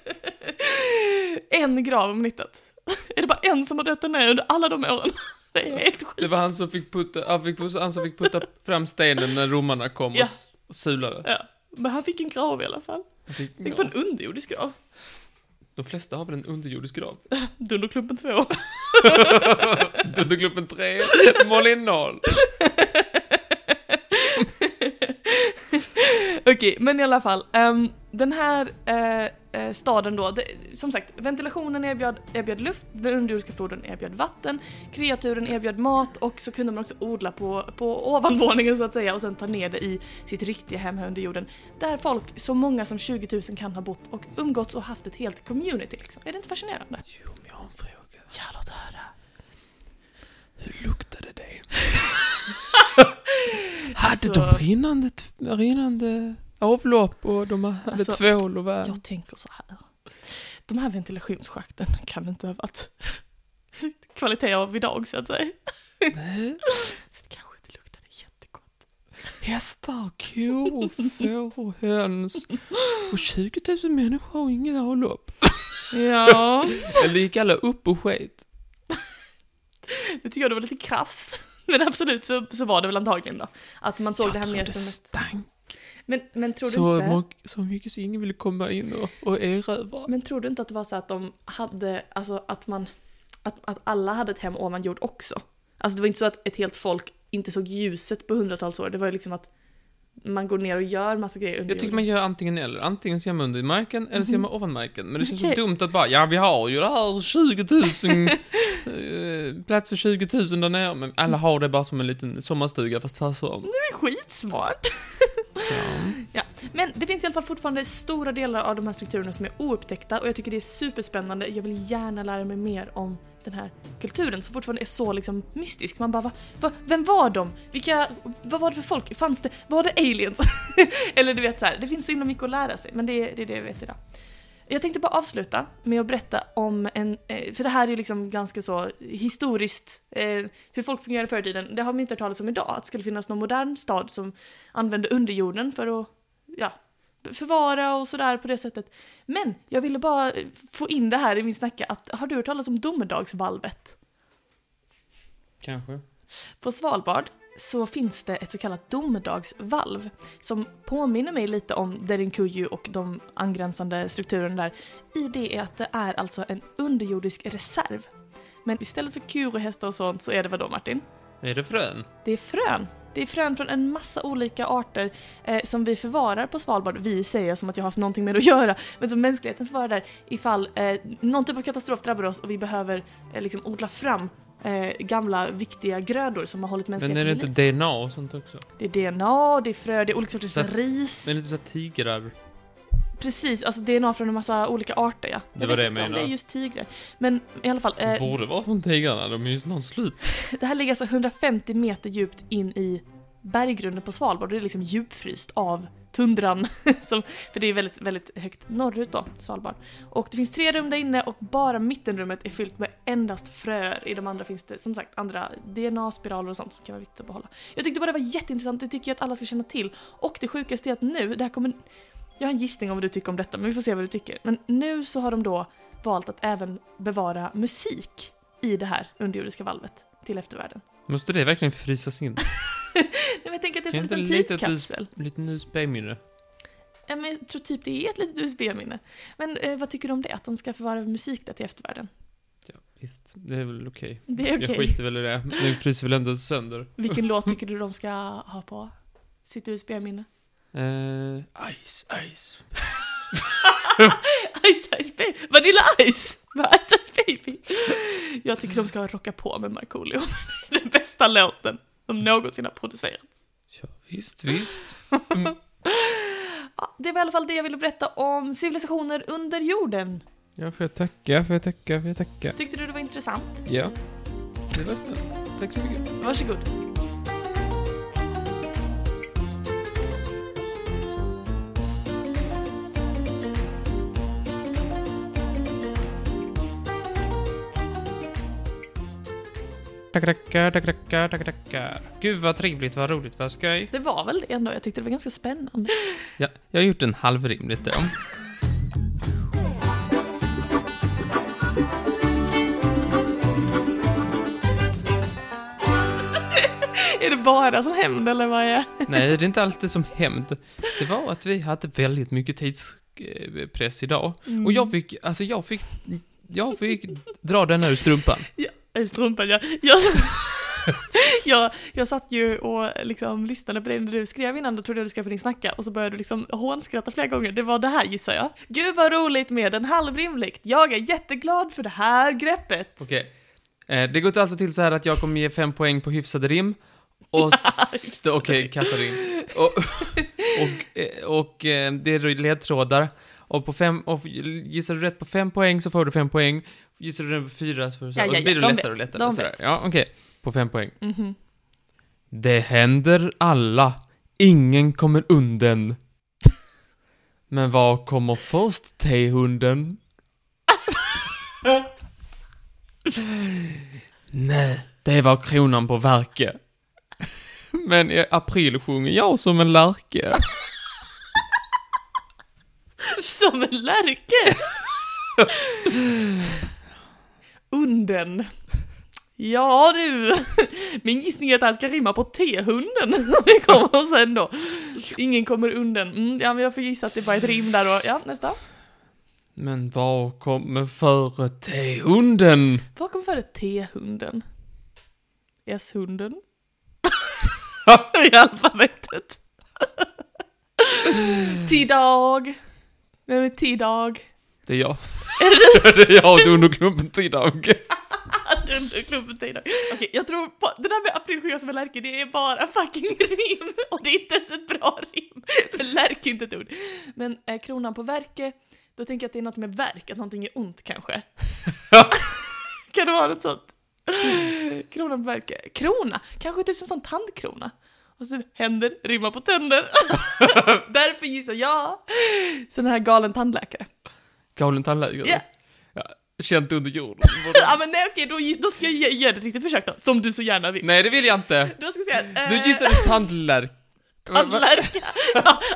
Speaker 2: en grav om nyttat. Är det bara en som har dött den här under alla de åren? Det är helt sjukt.
Speaker 1: Det var han som fick putta, han, fick, han som fick putta fram stenen när romarna kom
Speaker 2: Ja.
Speaker 1: och, s- och sulade.
Speaker 2: Ja. Men han fick en grav i alla fall.
Speaker 1: Han Fick,
Speaker 2: Fick
Speaker 1: ja,
Speaker 2: en underjordisk grav.
Speaker 1: de flesta har väl en underjordisk grav?
Speaker 2: Dunderklumpen 2.
Speaker 1: Dunderklumpen 3, Malin 0.
Speaker 2: Okej, men i alla fall. ehm, den här eh, eh, staden då, det, som sagt, ventilationen erbjöd, erbjöd luft, den underjordiska floden erbjöd vatten, kreaturen erbjöd mat och så kunde man också odla på, på ovanvåningen så att säga och sen ta ner det i sitt riktiga hem här under jorden. Där folk, så många som 20 000 kan ha bott och umgåtts och haft ett helt community liksom. Är det inte fascinerande?
Speaker 1: Jo, men jag har en fråga.
Speaker 2: Ja, låt höra.
Speaker 1: Hur luktade det?
Speaker 2: Alltså-
Speaker 1: Hade de rinnande, tv- rinnande avlopp och de hade
Speaker 2: Alltså,
Speaker 1: tvål och värme?
Speaker 2: Jag tänker så här. De här ventilationsschakten kan inte ha varit kvalitet av idag så att säga.
Speaker 1: Nej.
Speaker 2: Så det kanske inte luktade jättegott.
Speaker 1: Hästar, kor, får och höns. Och 20 000 människor har inget avlopp.
Speaker 2: Ja.
Speaker 1: Eller gick alla upp och sket?
Speaker 2: Nu tycker jag det var lite krass. Men absolut så, så var det väl antagligen då. Att man såg det här mer som...
Speaker 1: stank
Speaker 2: Men, men, tror du
Speaker 1: så,
Speaker 2: inte,
Speaker 1: många, så mycket så ingen ville komma in och, och erövra.
Speaker 2: men tror du inte att det var så att de hade, alltså att man, att, att alla hade ett hem ovan jord också? Alltså det var inte så att ett helt folk inte såg ljuset på hundratals år. Det var ju liksom att man går ner och gör massa grejer under
Speaker 1: Jag tycker
Speaker 2: jorden.
Speaker 1: man gör antingen eller. Antingen så gör man under marken eller så gör man ovan marken. Men det känns
Speaker 2: Mhm. Okej.
Speaker 1: så dumt att bara, ja vi har ju det här 20 000, eh, plats för 20 000 där nere. Men alla har det bara som en liten sommarstuga fast tvärsom.
Speaker 2: Det är skitsmart.
Speaker 1: Ja.
Speaker 2: Men det finns i alla fall fortfarande stora delar av de här strukturerna som är oupptäckta och jag tycker det är superspännande. Jag vill gärna lära mig mer om den här kulturen som fortfarande är så liksom mystisk. Man bara, va, va, vem var de? Vilka, vad var det för folk? Fanns det, var det aliens? Eller du vet så här, det finns så himla mycket att lära sig men det, är- det är det jag vet idag. Jag tänkte bara avsluta med att berätta om en, eh, för det här är ju liksom ganska så historiskt, eh, hur folk fungerade förr i tiden. Det har man ju inte hört talas om idag, att det skulle finnas någon modern stad som använde underjorden för att ja, förvara och sådär på det sättet. Men jag ville bara eh, få in det här i min snacka att har du hört talas om domedagsvalvet?
Speaker 1: Kanske.
Speaker 2: På Svalbard så finns det ett så kallat domedagsvalv som påminner mig lite om Derinkuju och de angränsande strukturerna där. I det är att det är alltså en underjordisk reserv. Men istället för kur och hästar och sånt så är det vad då Martin?
Speaker 1: Är det frön?
Speaker 2: Det är frön. Det är frön från en massa olika arter eh, som vi förvarar på Svalbard. Vi säger jag som att jag har haft någonting med det att göra, men som mänskligheten förvarar där ifall eh, någon typ av katastrof drabbar oss och vi behöver eh, liksom odla fram eh, gamla viktiga grödor som har hållit
Speaker 1: Men
Speaker 2: mänskligheten
Speaker 1: är det
Speaker 2: vid
Speaker 1: inte DNA och sånt också?
Speaker 2: liv. Det är DNA, det är frö, det är olika sorters
Speaker 1: Men-
Speaker 2: ris.
Speaker 1: Men är det inte så här tigrar?
Speaker 2: Precis, alltså DNA från en massa olika arter ja.
Speaker 1: Det var det
Speaker 2: vet
Speaker 1: jag
Speaker 2: inte om
Speaker 1: menade.
Speaker 2: Det är just tigrar. Men i alla fall,
Speaker 1: Det
Speaker 2: eh,
Speaker 1: borde vara från tigrarna, de är ju snart slut.
Speaker 2: Det här ligger alltså 150 meter djupt in i berggrunden på Svalbard och det är liksom djupfryst av tundran. Som, för det är väldigt, väldigt högt norrut då, Svalbard. Och det finns tre rum där inne och bara mittenrummet är fyllt med endast fröer. I de andra finns det som sagt andra DNA-spiraler och sånt som kan vara viktigt att behålla. Jag tyckte bara det var jätteintressant, det tycker jag att alla ska känna till. Och det sjukaste är att nu, det här kommer... Jag har en gissning om vad du tycker om detta, men vi får se vad du tycker. Men nu så har de då valt att även bevara musik i det här underjordiska valvet till eftervärlden.
Speaker 1: Måste det verkligen frysas in?
Speaker 2: Nej, men jag tänker att det är
Speaker 1: Är
Speaker 2: som
Speaker 1: inte
Speaker 2: en
Speaker 1: det
Speaker 2: liten
Speaker 1: lite att du-
Speaker 2: tidskapsel.
Speaker 1: Lite USB-minne.
Speaker 2: Ja, men jag tror typ det är ett litet USB-minne. Men eh, vad tycker du om det? Att de ska förvara musik där till eftervärlden?
Speaker 1: Ja, visst. Det är väl okej.
Speaker 2: Det är okej.
Speaker 1: Jag skiter väl i det. Nu fryser väl ändå sönder.
Speaker 2: Vilken låt tycker du de ska ha på sitt USB-minne?
Speaker 1: Eh, ice, ice.
Speaker 2: Ice Ice Baby! Vanilla Ice! Med Ice Ice Baby! Jag tycker de ska ha Rocka på med Markoolio. Den bästa låten som någonsin har producerats.
Speaker 1: Ja, visst, visst.
Speaker 2: Ja, det var i alla fall det jag ville berätta om civilisationer under jorden.
Speaker 1: Ja, får jag tacka, får jag tacka, får jag tacka.
Speaker 2: Tyckte du det var intressant?
Speaker 1: Ja. Det var snällt. Tack så mycket.
Speaker 2: Varsågod.
Speaker 1: Tack, tackar, tack, tackar, tack, tackar. Gud vad trevligt, vad roligt, vad skoj.
Speaker 2: Det var väl det ändå. Jag tyckte det var ganska spännande.
Speaker 1: Ja, jag har gjort en halvrim lite.
Speaker 2: Är det bara som hämnd eller vad är
Speaker 1: Nej, det är inte alls det som hänt. Det var att vi hade väldigt mycket tidspress idag.
Speaker 2: Mm.
Speaker 1: Och jag fick, alltså jag fick, jag fick dra den ur strumpan.
Speaker 2: Äh, Strumpan, jag, jag, jag, jag satt ju och liksom lyssnade på dig när du skrev innan, då trodde jag du skrev för din snacka och så började du liksom hånskratta flera gånger. Det var det här gissar jag. Gud vad roligt med en halvrimligt. Jag är jätteglad för det här greppet.
Speaker 1: Okej. Eh, Det går alltså till så här att jag kommer ge fem poäng på hyfsade rim. Och... s-
Speaker 2: Hyfsade
Speaker 1: Okej,
Speaker 2: rim.
Speaker 1: Katarin. Och, och, eh, och eh, det är ledtrådar. Och, på fem, och gissar du rätt på fem poäng så får du fem poäng. Gissar du rätt på fyra så får du så här.
Speaker 2: Ja,
Speaker 1: och
Speaker 2: ja,
Speaker 1: så
Speaker 2: ja,
Speaker 1: blir det
Speaker 2: de
Speaker 1: lättare och
Speaker 2: vet,
Speaker 1: lättare.
Speaker 2: de
Speaker 1: och så där.
Speaker 2: vet.
Speaker 1: Ja, okej. På fem poäng.
Speaker 2: Mhm.
Speaker 1: Det händer alla. Ingen kommer undan. Men vad kommer först, tehunden? Nej, det var kronan på verket. Men i april sjunger jag som en lärke.
Speaker 2: Som en lärke! Unden. Ja du, min gissning är att det här ska rimma på T-hunden som vi kommer sen då. Ingen kommer undan. Mm, ja, men jag får gissa att det är bara ett rim där då. Ja, nästa.
Speaker 1: Men vad kommer före tehunden?
Speaker 2: Vad kommer före T-hunden? S-hunden? I alfabetet. T-dag. Vem är T-dag?
Speaker 1: Det är jag. det är jag och Dunderklumpen Tidag.
Speaker 2: Dunderklubben till idag. Okej, jag tror på det där med aprilsjuka som är lärke, det är bara fucking rim. Och det är inte ens ett bra rim. För lärke är inte ett ord. Men eh, kronan på verke, då tänker jag att det är något med verk, att någonting är ont kanske. kan det vara något sånt? Kronan på verke. Krona, kanske typ som sån tandkrona. Och så händer, rimmar på tänder. Därför gissar jag sån här galen tandläkare.
Speaker 1: Galen tandläkare.
Speaker 2: Ja.
Speaker 1: Ja, Känt under jorden.
Speaker 2: Ja men nej okej, då, gi- då ska jag ge, ge det ett riktigt försök då, som du så gärna vill.
Speaker 1: Nej, det vill jag inte.
Speaker 2: Då ska vi se.
Speaker 1: Du
Speaker 2: eh,
Speaker 1: gissade tandlärk...
Speaker 2: Tandlärka!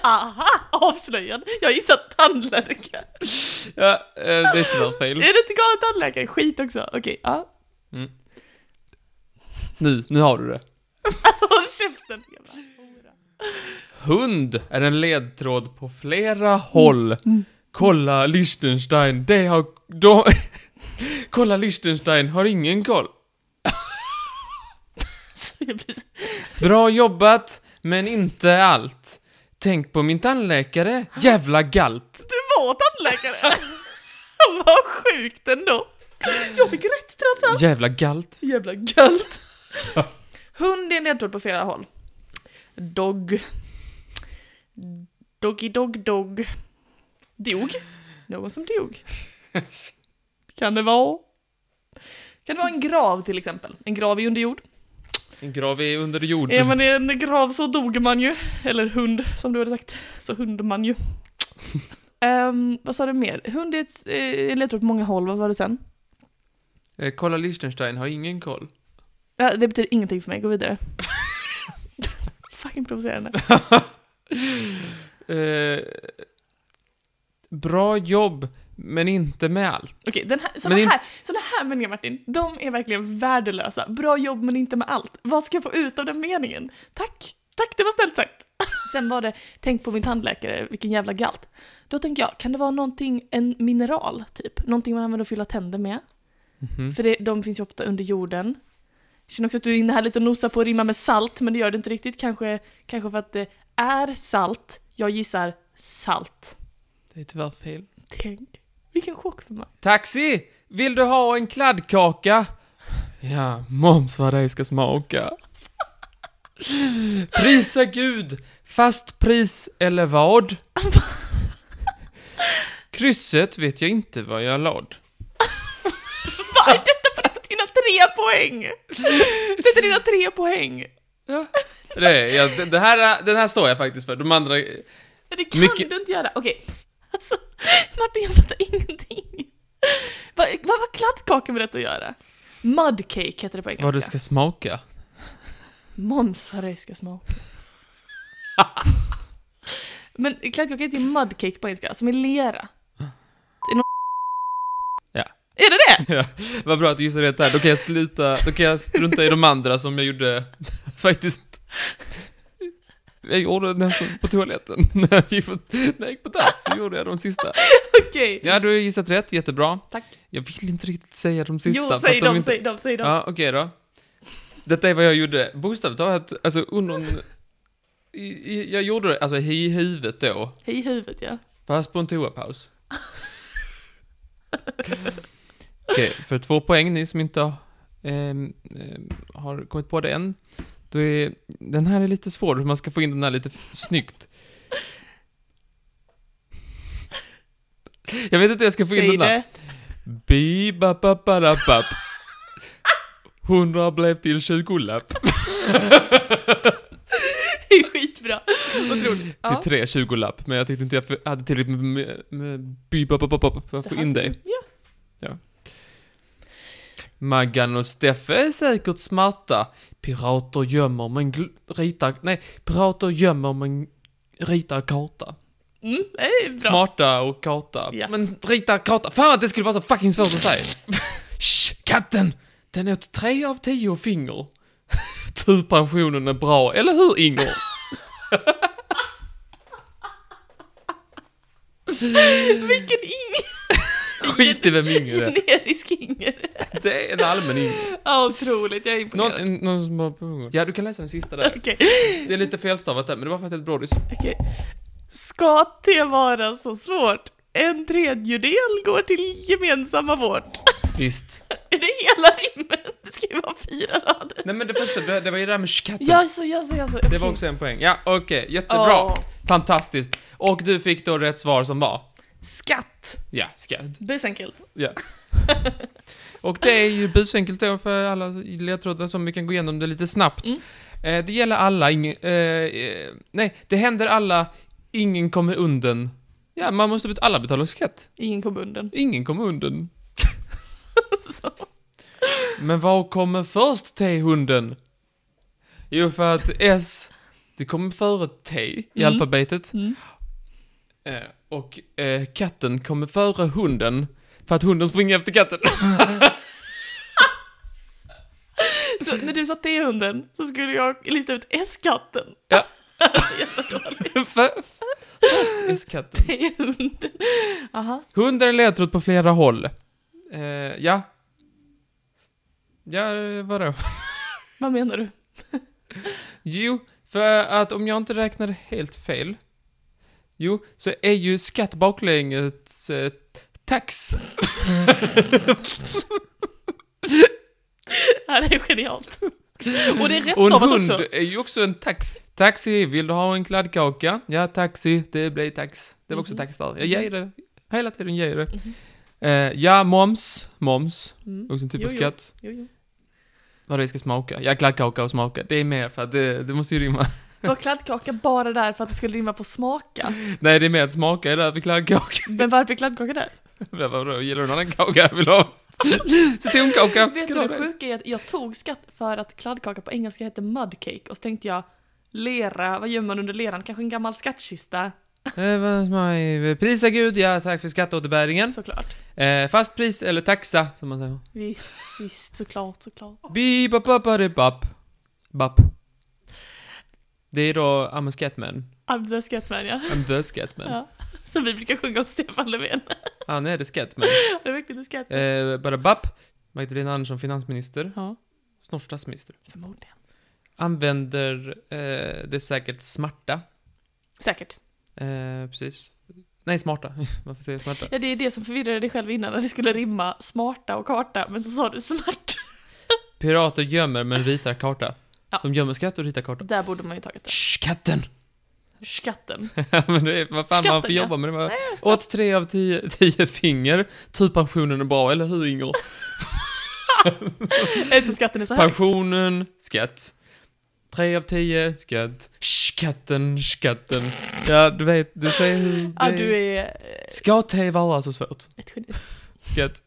Speaker 2: Aha! Avslöjad! Jag gissar tandlärka.
Speaker 1: Ja, eh, det är tyvärr fel.
Speaker 2: Är det inte galet tandläkare? Skit också. Okej, ja.
Speaker 1: Nu, nu har du det.
Speaker 2: Alltså håll käften! jävla hora.
Speaker 1: Hund är en ledtråd på flera håll. Kolla Liechtenstein, det har... De, kolla Liechtenstein, har ingen koll.
Speaker 2: Så jag blir så-
Speaker 1: Bra jobbat, men inte allt. Tänk på min tandläkare, jävla galt.
Speaker 2: Det var tandläkare! Vad sjukt ändå! Jag fick rätt trots allt!
Speaker 1: Jävla galt.
Speaker 2: Jävla galt! Hund är nedtrådd på flera håll. Dog. Doggy dog dog. Dog. Någon som dog. Kan det vara? Kan det vara en grav till exempel? En grav i underjord.
Speaker 1: En grav är under jord.
Speaker 2: Är man i en grav så dog man ju. Eller hund, som du hade sagt. Så hund man ju. Ehm, vad sa du mer? Hund är ett eh, en ledtråd på många håll, vad var det sen?
Speaker 1: Eh, Kolla Liechtenstein, har ingen koll.
Speaker 2: Ja, det betyder ingenting för mig, gå vidare. Fucking provocerande.
Speaker 1: Eh, Bra jobb, men inte med allt.
Speaker 2: Okej, den här, såna,
Speaker 1: Men in-
Speaker 2: här, såna här meningar Martin, de är verkligen värdelösa. Bra jobb men inte med allt. Vad ska jag få ut av den meningen? Tack, tack det var snällt sagt. Sen var det, tänk på min tandläkare, vilken jävla galt. Då tänker jag, kan det vara någonting, en mineral typ? Någonting man använder att fylla tänder med?
Speaker 1: Mhm.
Speaker 2: För det, de finns ju ofta under jorden. Jag känner också att du är inne här lite och nosar på att rimma med salt, men det gör du inte riktigt. Kanske, kanske för att det är salt. Jag gissar salt.
Speaker 1: Det är tyvärr fel.
Speaker 2: Tänk, vilken chock för mig.
Speaker 1: Taxi! Vill du ha en kladdkaka? Ja, moms vad det ska smaka. Prisa Gud! Fast pris eller vad? Krysset vet jag inte vad jag lad.
Speaker 2: Vad är detta för dina tre poäng? Detta är dina tre poäng.
Speaker 1: Ja. Det, är- ja, det- det här, den här står jag faktiskt för. De andra...
Speaker 2: Men Det kan
Speaker 1: Mycket-
Speaker 2: du inte göra. Okej. Alltså, Martin jag fattar ingenting. Vad vad har kladdkaka med detta att göra? Mudcake heter det på engelska.
Speaker 1: Vad du ska smaka.
Speaker 2: Moms vad det ska smaka. Men kladdkaka heter ju mudcake på engelska, som är lera. Det är någon
Speaker 1: Ja.
Speaker 2: Är det det?
Speaker 1: Ja, vad bra att du gissade rätt här. Då kan jag sluta, då kan jag strunta i de andra som jag gjorde faktiskt. Jag gjorde nästan på toaletten när jag gick på, när jag gick på dass, så gjorde jag de sista.
Speaker 2: Okej.
Speaker 1: Ja, du har gissat rätt, jättebra.
Speaker 2: Tack.
Speaker 1: Jag vill inte riktigt säga de sista.
Speaker 2: Jo,
Speaker 1: för
Speaker 2: säg
Speaker 1: att de
Speaker 2: dem,
Speaker 1: inte-
Speaker 2: säg dem, säg dem.
Speaker 1: Ja, okej då. Detta är vad jag gjorde. Bokstavligt talat, alltså under... en- i- i- Jag gjorde det, alltså i huvudet då.
Speaker 2: Hej huvudet ja.
Speaker 1: Fast på en toapaus. Okej, för två poäng, ni som inte ehm, ehm, har kommit på det än. Då är, den här är lite svår, hur man ska få in den här lite f- snyggt. Jag vet inte hur jag ska få in
Speaker 2: Säg
Speaker 1: den här.
Speaker 2: det.
Speaker 1: bi ba ba ba da bap. Hundra blev till tjugolapp.
Speaker 2: Det är skitbra. Otroligt. Ja.
Speaker 1: Till tre tjugolapp, men jag tyckte inte jag för- hade tillräckligt med, med, med bi ba ba ba ba för att få in det.
Speaker 2: Ja.
Speaker 1: Maggan och Steffe är säkert smarta. Pirater gömmer men gl- ritar... Nej, pirater gömmer men ritar karta.
Speaker 2: Mm, det är bra.
Speaker 1: Smarta och karta.
Speaker 2: Ja.
Speaker 1: Men ritar karta. Fan att det skulle vara så fucking svårt att säga. Shh, katten! Den åt tre av tio finger. Tur pensionen är bra, eller hur Inger?
Speaker 2: Vilken ing-
Speaker 1: Skit i vem Inger är.
Speaker 2: generisk inger.
Speaker 1: Det är en allmän Inger.
Speaker 2: Ja, otroligt. Jag är
Speaker 1: Någon,
Speaker 2: imponerad.
Speaker 1: en- någon som har pension. Ja, du kan läsa den sista där.
Speaker 2: Okej.
Speaker 1: Det är lite felstavat där, men det var för att det är ett brådis.
Speaker 2: Okej. Ska det vara så svårt? En tredjedel går till gemensamma vård.
Speaker 1: Visst.
Speaker 2: Är det hela rimmet? Det ska ju vara fyra rader.
Speaker 1: Nej men det första, det det var ju det där med "Shh, katten.
Speaker 2: Jaså, jaså, jaså.
Speaker 1: Det var också en poäng. Ja, okej. Jättebra.
Speaker 2: alltså, Ja.
Speaker 1: Fantastiskt. Och du fick då rätt svar som var?
Speaker 2: Skatt.
Speaker 1: Ja, skatt.
Speaker 2: Busenkelt.
Speaker 1: Ja. Och det är ju busenkelt då för alla ledtrådar som vi kan gå igenom det lite snabbt.
Speaker 2: Mm.
Speaker 1: Eh, det gäller alla, ing- eh, eh, nej, det händer alla, ingen kommer undan. Ja, man måste bet- alla betala skatt.
Speaker 2: Ingen kom undan.
Speaker 1: Ingen kommer undan.
Speaker 2: Så.
Speaker 1: Men vad kommer först T-hunden? Jo, för att S, det kommer före T i
Speaker 2: Mm.
Speaker 1: alfabetet.
Speaker 2: Mm.
Speaker 1: Eh, och eh, katten kommer före hunden för att hunden springer efter katten.
Speaker 2: så när du sa T-hunden så skulle jag lista ut S-katten.
Speaker 1: Ja.
Speaker 2: Jävla dåligt.
Speaker 1: För- Först S-katten.
Speaker 2: T-hunden. Aha.
Speaker 1: Hunden är ledtråd på flera håll. Eh, ja. Ja, eh, vadå?
Speaker 2: Vad menar du?
Speaker 1: Jo, för att om jag inte räknade helt fel. Jo, så är ju skatt baklänges eh, tax.
Speaker 2: Det här är genialt. Och det är rätt
Speaker 1: Och en
Speaker 2: stavat
Speaker 1: hund
Speaker 2: också.
Speaker 1: är ju också en tax. Taxi, vill du ha en kladdkaka? Ja, taxi, det blir tax. Det var också
Speaker 2: Mhm.
Speaker 1: tax där. Jag ger det. Hela tiden ger jag det.
Speaker 2: Mhm.
Speaker 1: Eh, ja, moms. Moms.
Speaker 2: Mm.
Speaker 1: Också en typ
Speaker 2: Jo,
Speaker 1: av
Speaker 2: jo.
Speaker 1: skatt.
Speaker 2: Jo, jo.
Speaker 1: Vad det ska smaka. Ja, kladdkaka och smaka. Det är mer för att det, det måste ju rimma.
Speaker 2: Var kladdkaka bara där för att det skulle rimma på smaka?
Speaker 1: Nej, det är mer att smaka är där för kladdkaka.
Speaker 2: Men varför är kladdkaka där?
Speaker 1: Men Vadå, gillar du någon annan kaka? Vill du ha? Citronkaka?
Speaker 2: Vet
Speaker 1: Ska
Speaker 2: du
Speaker 1: du ha
Speaker 2: det
Speaker 1: det?
Speaker 2: sjuka är att jag tog skatt för att kladdkaka på engelska heter mudcake och så tänkte jag lera, vad gömmer man under leran? Kanske en gammal skattkista?
Speaker 1: Eh, vad- my- Prisa Gud, ja tack för skatteåterbäringen.
Speaker 2: Såklart.
Speaker 1: Eh, fast pris eller taxa, som man säger.
Speaker 2: Visst, visst, såklart, såklart.
Speaker 1: Bi-ba-ba-ba-de-bap. Bap. Det är då I'm a Scatman.
Speaker 2: Andra skattmän, ja.
Speaker 1: I'm the Scatman.
Speaker 2: ja. Som vi brukar sjunga om Stefan Löfven.
Speaker 1: Han är the Scatman.
Speaker 2: Det är verkligen en skatt.
Speaker 1: Eh, bara bap. Magdalena Andersson, finansminister.
Speaker 2: Ja,
Speaker 1: Snart statsminister.
Speaker 2: förmodligen.
Speaker 1: Använder eh, det säkert smarta.
Speaker 2: Säkert.
Speaker 1: Eh, precis. Nej, smarta. Varför säger jag smarta?
Speaker 2: Ja, det är det som förvirrade dig själv innan, när det skulle rimma smarta och karta, men så sa du smart.
Speaker 1: Pirater gömmer men ritar karta.
Speaker 2: Ja.
Speaker 1: De gömmer skatt och ritar karta.
Speaker 2: Där borde man ju tagit det.
Speaker 1: Shh, katten!
Speaker 2: Skatten.
Speaker 1: men det är, vad fan man får
Speaker 2: Skatten, ja.
Speaker 1: jobba med det. Man,
Speaker 2: Nej, jag ska-
Speaker 1: åt tre av tio, tio finger. Tur pensionen är bra, eller hur Inger?
Speaker 2: Eftersom skatten är så här.
Speaker 1: Pensionen, skatt. Tre av tio, skatt. Skatten, skatten. Ja, du vet, du ser hur...
Speaker 2: Ja,
Speaker 1: det-
Speaker 2: du är eh,
Speaker 1: Skatt är vara så svårt.
Speaker 2: ett geni.
Speaker 1: Skatt.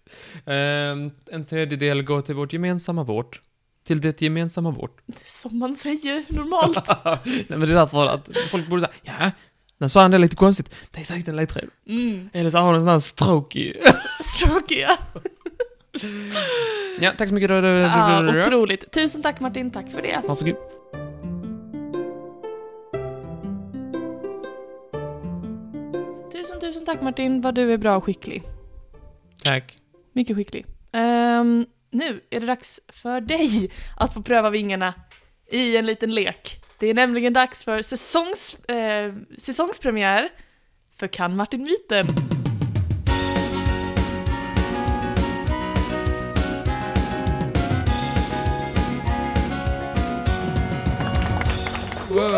Speaker 1: Ehm, en tredjedel går till vårt gemensamma vårt. Till det gemensamma vårt.
Speaker 2: Det är Som man säger normalt.
Speaker 1: Nej men det är därför att folk borde säga, ja, nu sa han det lite konstigt. Det är säkert en ledtråd.
Speaker 2: Mm.
Speaker 1: Eller så har han en sån här stroke i.
Speaker 2: Stroke, ja.
Speaker 1: Ja, tack så mycket.
Speaker 2: ja. Otroligt. Tusen tack Martin, tack för det.
Speaker 1: Varsågod.
Speaker 2: Tusen, tusen tack Martin, vad du är bra och skicklig.
Speaker 1: Tack.
Speaker 2: Mycket skicklig. Ehm, nu är det dags för dig att få pröva vingarna i en liten lek. Det är nämligen dags för säsongs, eh, säsongspremiär för Kan Martin Myten?
Speaker 1: Wow,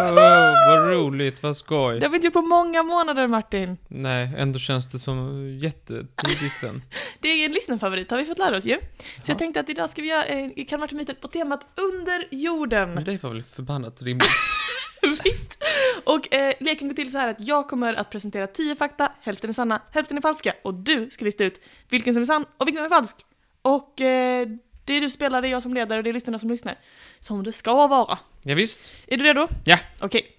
Speaker 1: vad roligt, vad skoj.
Speaker 2: Det har vi inte gjort på många månader Martin.
Speaker 1: Nej, ändå känns det som jättetidigt sen.
Speaker 2: Det är en lyssnarfavorit har vi fått lära oss ju. Så
Speaker 1: Ja.
Speaker 2: jag tänkte att idag ska vi göra eh, Kan Martin Myten på temat Under
Speaker 1: Men
Speaker 2: jorden.
Speaker 1: det var väl förbannat rimligt.
Speaker 2: Visst? Och eh, leken går till så här att jag kommer att presentera tio fakta, hälften är sanna, hälften är falska och du ska lista ut vilken som är sann och vilken som är falsk. Och eh, det är du som spelar, det är jag som leder och det är lyssnarna som lyssnar. Som det ska vara.
Speaker 1: Ja, visst.
Speaker 2: Är du redo?
Speaker 1: Ja.
Speaker 2: Okej.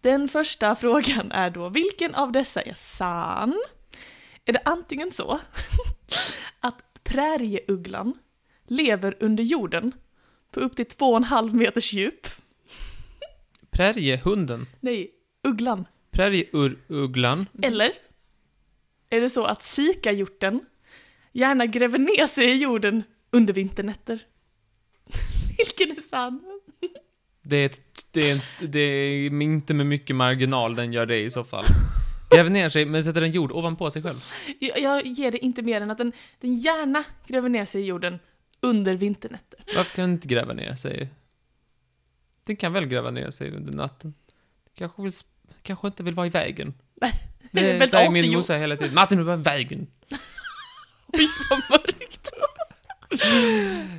Speaker 2: Den första frågan är då, vilken av dessa är sann? Är det antingen så att prärieugglan lever under jorden på upp till två och en halv meters djup?
Speaker 1: Präriehunden.
Speaker 2: Nej, ugglan.
Speaker 1: Prärieugglan.
Speaker 2: Eller är det så att sikahjorten gärna gräver ner sig i jorden under vinternätter? Vilken är sann?
Speaker 1: Det är, ett, det, är, en- det är inte med mycket marginal den gör det i så fall. Gräver ner sig, men sätter en jord ovanpå sig själv.
Speaker 2: Jag, jag ger det inte mer än att den, den gärna gräver ner sig i jorden under vinternätter.
Speaker 1: Varför kan den inte gräva ner sig? Den kan väl gräva ner sig under natten? Kanske, vill, sp- kanske inte vill vara i vägen.
Speaker 2: Nej, det är
Speaker 1: Det
Speaker 2: väl
Speaker 1: säger
Speaker 2: artig
Speaker 1: min
Speaker 2: jord.
Speaker 1: morsa hela tiden. Martin, du var i vägen.
Speaker 2: Oj, vad mörkt! Ja,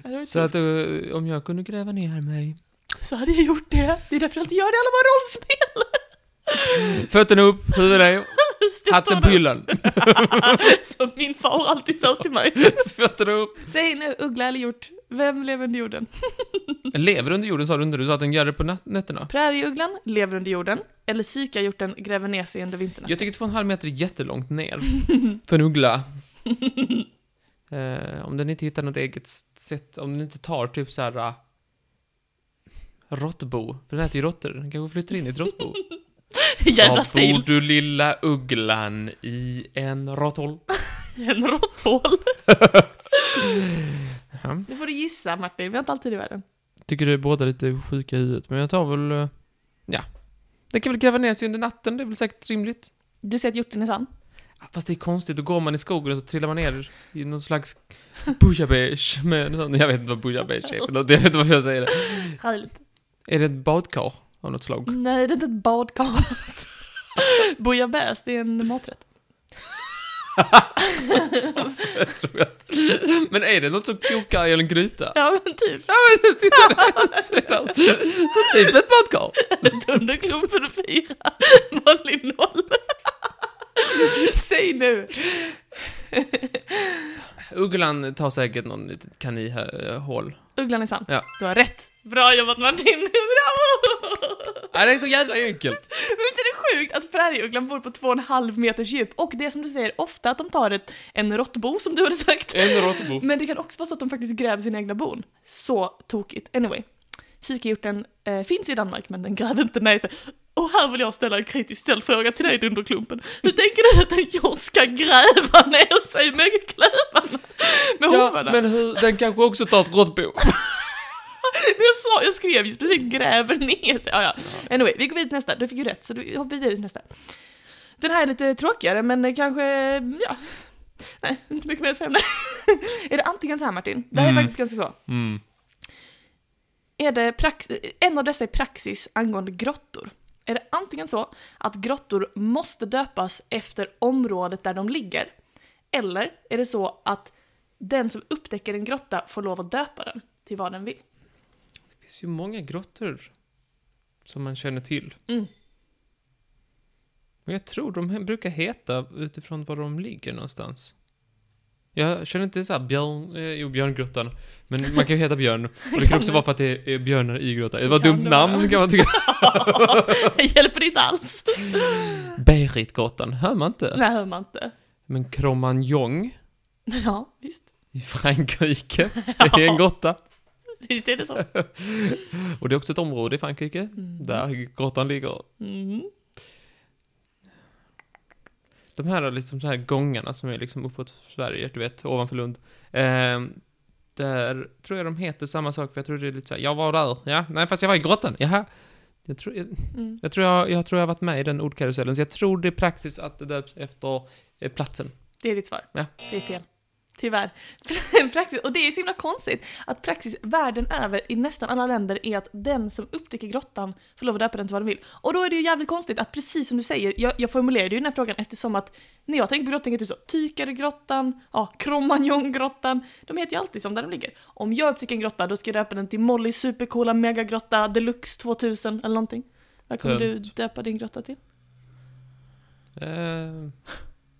Speaker 2: det var
Speaker 1: Så att
Speaker 2: tufft.
Speaker 1: eh, om jag kunde gräva ner mig.
Speaker 2: så hade jag gjort det. Det är därför jag inte gör det i alla våra rollspel!
Speaker 1: Fötterna upp, huvudet ner,
Speaker 2: Stå
Speaker 1: hatten på
Speaker 2: där.
Speaker 1: hyllan.
Speaker 2: Som min far alltid sa till mig.
Speaker 1: Fötterna upp.
Speaker 2: Säg nu, uggla eller hjort, vem lever under jorden?
Speaker 1: Den lever under jorden sa du inte, du sa att den gör det på nat- nätterna.
Speaker 2: Prärieugglan lever under jorden, eller sikahjorten gräver ner sig under vintern.
Speaker 1: Jag tycker två och en halv meter är jättelångt ner. För en uggla. eh, om den inte hittar något eget sätt, om den inte tar typ så här. Uh, råttbo. För den äter ju råttor. Den kanske flyttar in i ett råttbo.
Speaker 2: Jävla
Speaker 1: Var bor
Speaker 2: stil!
Speaker 1: du lilla ugglan? I en råtthål.
Speaker 2: I en råtthål!
Speaker 1: Ja.
Speaker 2: Nu får du gissa Martin, vi har inte alltid i världen.
Speaker 1: Tycker du är båda lite sjuka i huvudet, men jag tar väl... eh, ja. Den kan väl gräva ner sig under natten, det är väl säkert rimligt.
Speaker 2: Du säger att hjorten är sann?
Speaker 1: Ah, Fast det är konstigt, då går man i skogen och så trillar man ner i någon slags bouillabaisse med någon, Jag vet inte vad bouillabaisse är för något, jag vet inte varför jag säger det.
Speaker 2: Härligt.
Speaker 1: Är det ett badkar av något slag?
Speaker 2: Nej, det är inte ett badkar. Bouillabaisse, det är en maträtt.
Speaker 1: Jag tror att... Men är det något som kokar i en gryta?
Speaker 2: Ja men typ,
Speaker 1: Ja men titta där! Så är det- Så typ ett badkar!
Speaker 2: Dunderklumpen 4, Malin 0. Säg nu!
Speaker 1: Ugglan tar säkert någon litet kaninhål
Speaker 2: Ugglan i sand.
Speaker 1: Ja.
Speaker 2: Du har rätt. Bra jobbat Martin! Bravo!
Speaker 1: Nej, det är så jävla enkelt.
Speaker 2: Men visst är det sjukt att prärieuglan bor på två och en halv meters djup och det är som du säger ofta att de tar ett, en råttbo som du hade sagt.
Speaker 1: En råttbo.
Speaker 2: Men det kan också vara så att de faktiskt gräver sina egna bon. Så tokigt. Anyway. Kikahjorten eh, finns i Danmark men den gräver inte ner sig. Och här vill jag ställa en kritiskt ställd fråga till dig Dunderklumpen. Hur tänker du att en hjort ska gräva ner sig med klövarna? Med
Speaker 1: Ja,
Speaker 2: hovarna?
Speaker 1: men hur, den kanske också tar ett råttbo.
Speaker 2: Men jag sa, jag skrev ju specifikt gräver ner sig. Ja, ja. Anyway, vi går vidare till nästa. Du fick ju rätt, så du hoppar vidare till nästa. Den här är lite tråkigare, men eh, kanske, ja. Nej, inte mycket mer att säga om det. Är det antingen så här Martin, det här är
Speaker 1: Mm.
Speaker 2: faktiskt ganska så.
Speaker 1: Mm.
Speaker 2: Är det prax- en av dessa är praxis angående grottor. Är det antingen så att grottor måste döpas efter området där de ligger, eller är det så att den som upptäcker en grotta får lov att döpa den till vad den vill?
Speaker 1: Det finns ju många grottor som man känner till.
Speaker 2: Mm.
Speaker 1: Men jag tror de he- brukar heta utifrån var de ligger någonstans. Jag känner inte så här björn, eh, jo björngrottan. Men man kan ju heta björn. Och det kan också vara för att det är björnar i grottan.
Speaker 2: Så
Speaker 1: Det var ett
Speaker 2: kan
Speaker 1: dumt
Speaker 2: det vara.
Speaker 1: namn kan man tycka.
Speaker 2: Det hjälper inte alls.
Speaker 1: Beritgrottan, hör man inte?
Speaker 2: Nej, hör man inte.
Speaker 1: Men Cromagnon
Speaker 2: Ja, visst.
Speaker 1: i Frankrike, det är en grotta.
Speaker 2: Visst är det så.
Speaker 1: Och det är också ett område i Frankrike där grottan ligger.
Speaker 2: Mm.
Speaker 1: De här är liksom så här gångarna som är liksom uppåt Sverige, du vet, ovanför Lund. Ehm, där tror jag de heter samma sak, för jag tror det är lite så här, jag var där, ja, nej fast jag var i grottan, jaha. Jag tror jag,
Speaker 2: Mm.
Speaker 1: jag, tror jag, jag tror jag har varit med i den ordkarusellen, så jag tror det är praxis att det döps efter eh, platsen.
Speaker 2: Det är ditt svar.
Speaker 1: Ja.
Speaker 2: Det är fel. Tyvärr. praxis, och det är så himla konstigt att praxis världen över i nästan alla länder är att den som upptäcker grottan får lov att döpa den till vad den vill. Och då är det ju jävligt konstigt att precis som du säger, jag, jag formulerade ju den här frågan eftersom att när jag tänker på grottan tänker jag typ så, Tykaregrottan, ja, Cromagnon-grottan, de heter ju alltid som där de ligger. Om jag upptäcker en grotta då ska jag döpa den till Molly Supercoola Megagrotta Deluxe 2000 eller någonting. Vad kommer du
Speaker 1: Tönt.
Speaker 2: döpa din grotta till?
Speaker 1: Ehm,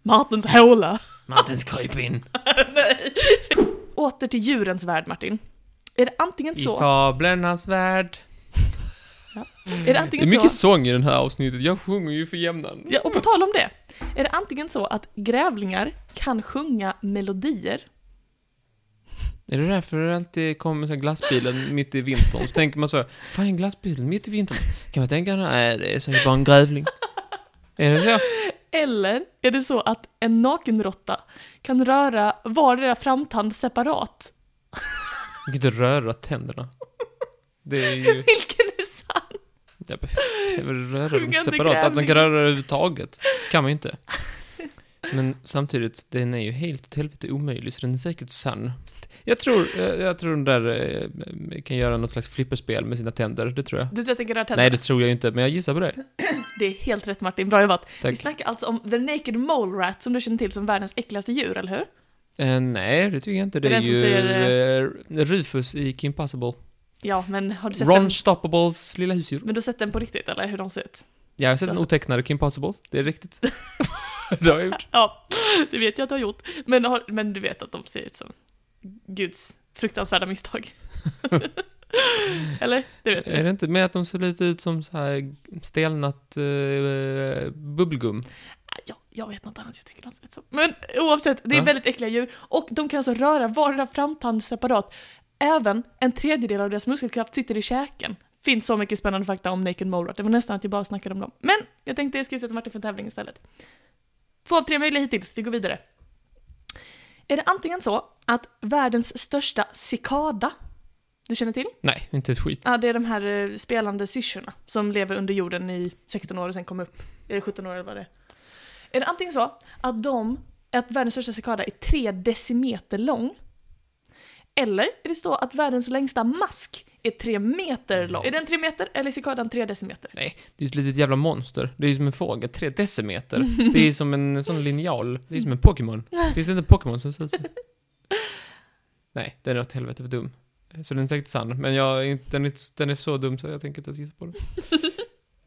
Speaker 2: Martens håla!
Speaker 1: Martins kryp in.
Speaker 2: Nej. Åter till djurens värld, Martin. Är det antingen
Speaker 1: I
Speaker 2: så...
Speaker 1: fablernas värld.
Speaker 2: Är det
Speaker 1: Det är
Speaker 2: antingen
Speaker 1: mycket
Speaker 2: så...
Speaker 1: sång i den här avsnittet, jag sjunger ju för jämnan.
Speaker 2: Ja, och på tal om det. Är det antingen så att grävlingar kan sjunga melodier?
Speaker 1: Är det därför det alltid kommer så här glassbilen mitt i vintern? Så tänker man så, här, fan glassbilen mitt i vintern? Kan man tänka, nej det är säkert bara en grävling. Är det så?
Speaker 2: Eller är det så att en nakenråtta kan röra vardera framtand separat?
Speaker 1: Man kan inte röra tänderna. Det är ju,
Speaker 2: Vilken är sann?
Speaker 1: jag behöver röra dem
Speaker 2: Sjungande
Speaker 1: separat. Att den
Speaker 2: grävling.
Speaker 1: kan röra det överhuvudtaget kan man ju inte. Men samtidigt, den är ju helt åt helvete omöjlig, så den är säkert sann. Jag tror, jag, jag tror den där eh, kan göra något slags flipperspel med sina tänder, det tror jag.
Speaker 2: Du tror jag tänker röra
Speaker 1: Nej,
Speaker 2: tänderna?
Speaker 1: det tror jag inte, men jag gissar på det.
Speaker 2: Det är helt rätt Martin, bra jobbat.
Speaker 1: Tack.
Speaker 2: Vi snackar alltså om the naked mole rat som du känner till som världens äckligaste djur, eller hur?
Speaker 1: Eh, nej, det tycker jag inte. Det
Speaker 2: Det är
Speaker 1: är
Speaker 2: den som
Speaker 1: ju
Speaker 2: säger,
Speaker 1: eh, Rufus i Kim Possible.
Speaker 2: Ja, men har du sett
Speaker 1: Ron
Speaker 2: den?
Speaker 1: Stoppables lilla husdjur.
Speaker 2: Men du har sett den på riktigt, eller hur de ser ut?
Speaker 1: Jag har sett
Speaker 2: Du har
Speaker 1: den
Speaker 2: sett-
Speaker 1: otecknade Kim Possible. Det är riktigt. det har jag gjort.
Speaker 2: Ja, det vet jag att du har gjort. Men, har, men du vet att de ser ut som Guds fruktansvärda misstag. Eller? Det vet
Speaker 1: Är
Speaker 2: du.
Speaker 1: det inte med att de ser lite ut som så här stelnat eh, bubbelgum?
Speaker 2: Jag, jag vet något annat jag tycker de ser ut som. Men oavsett, det är
Speaker 1: Ja.
Speaker 2: väldigt äckliga djur. Och de kan alltså röra vardera framtand separat. Även en tredjedel av deras muskelkraft sitter i käken. Finns så mycket spännande fakta om Naked Mole Rat. Det var nästan att jag bara snackade om dem. Men jag tänkte jag skulle sätta Martin för en tävling istället. Två av tre möjliga hittills, vi går vidare. Är det antingen så att världens största cikada, du känner till?
Speaker 1: Nej, inte ett skit.
Speaker 2: Ja, det är de här eh, spelande syrsorna som lever under jorden i 16 år och sen kom upp, eh, 17 år eller vad det är. Är det antingen så att de, att världens största cikada är 3 decimeter lång? Eller är det så att världens längsta mask är 3 meter lång? Är den 3 meter eller är cikadan 3 decimeter?
Speaker 1: Nej, det är ju ett litet jävla monster. Det är ju som en fågel. Tre decimeter. Det är som en sån linjal. Det är som en Pokémon. Finns det inte en Pokémon som ser ut så? Nej, den är åt helvete för dum. Så den är säkert sann. Men jag, är inte- den, är, den är så dum så jag tänker inte ens gissa på den.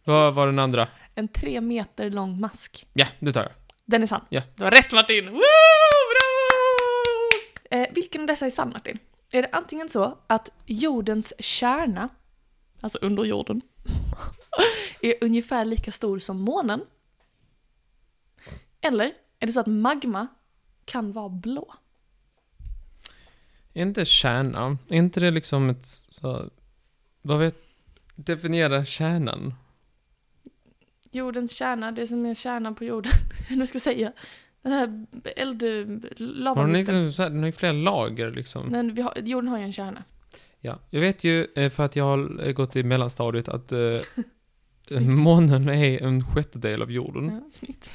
Speaker 1: Vad var den andra?
Speaker 2: En 3 meter lång mask.
Speaker 1: Ja, det tar jag.
Speaker 2: Den är sann.
Speaker 1: Ja.
Speaker 2: Det var rätt Martin! Woo! Bra! Eh, vilken av dessa är sann Martin? är det antingen så att jordens kärna, alltså under jorden, är ungefär lika stor som månen. Eller är det så att magma kan vara blå?
Speaker 1: Är inte kärna, är inte det liksom ett så, vad vet, definiera kärnan?
Speaker 2: Jordens kärna, det som är kärnan på jorden, nu ska jag säga. Den här eld... eh,
Speaker 1: Har den,
Speaker 2: lavavippen.
Speaker 1: liksom, så här, den har ju flera lager liksom.
Speaker 2: Den, vi har, jorden har ju en kärna.
Speaker 1: Ja, jag vet ju eh, för att jag har eh, gått i mellanstadiet att eh, månen är en sjättedel av jorden.
Speaker 2: Ja, snyggt.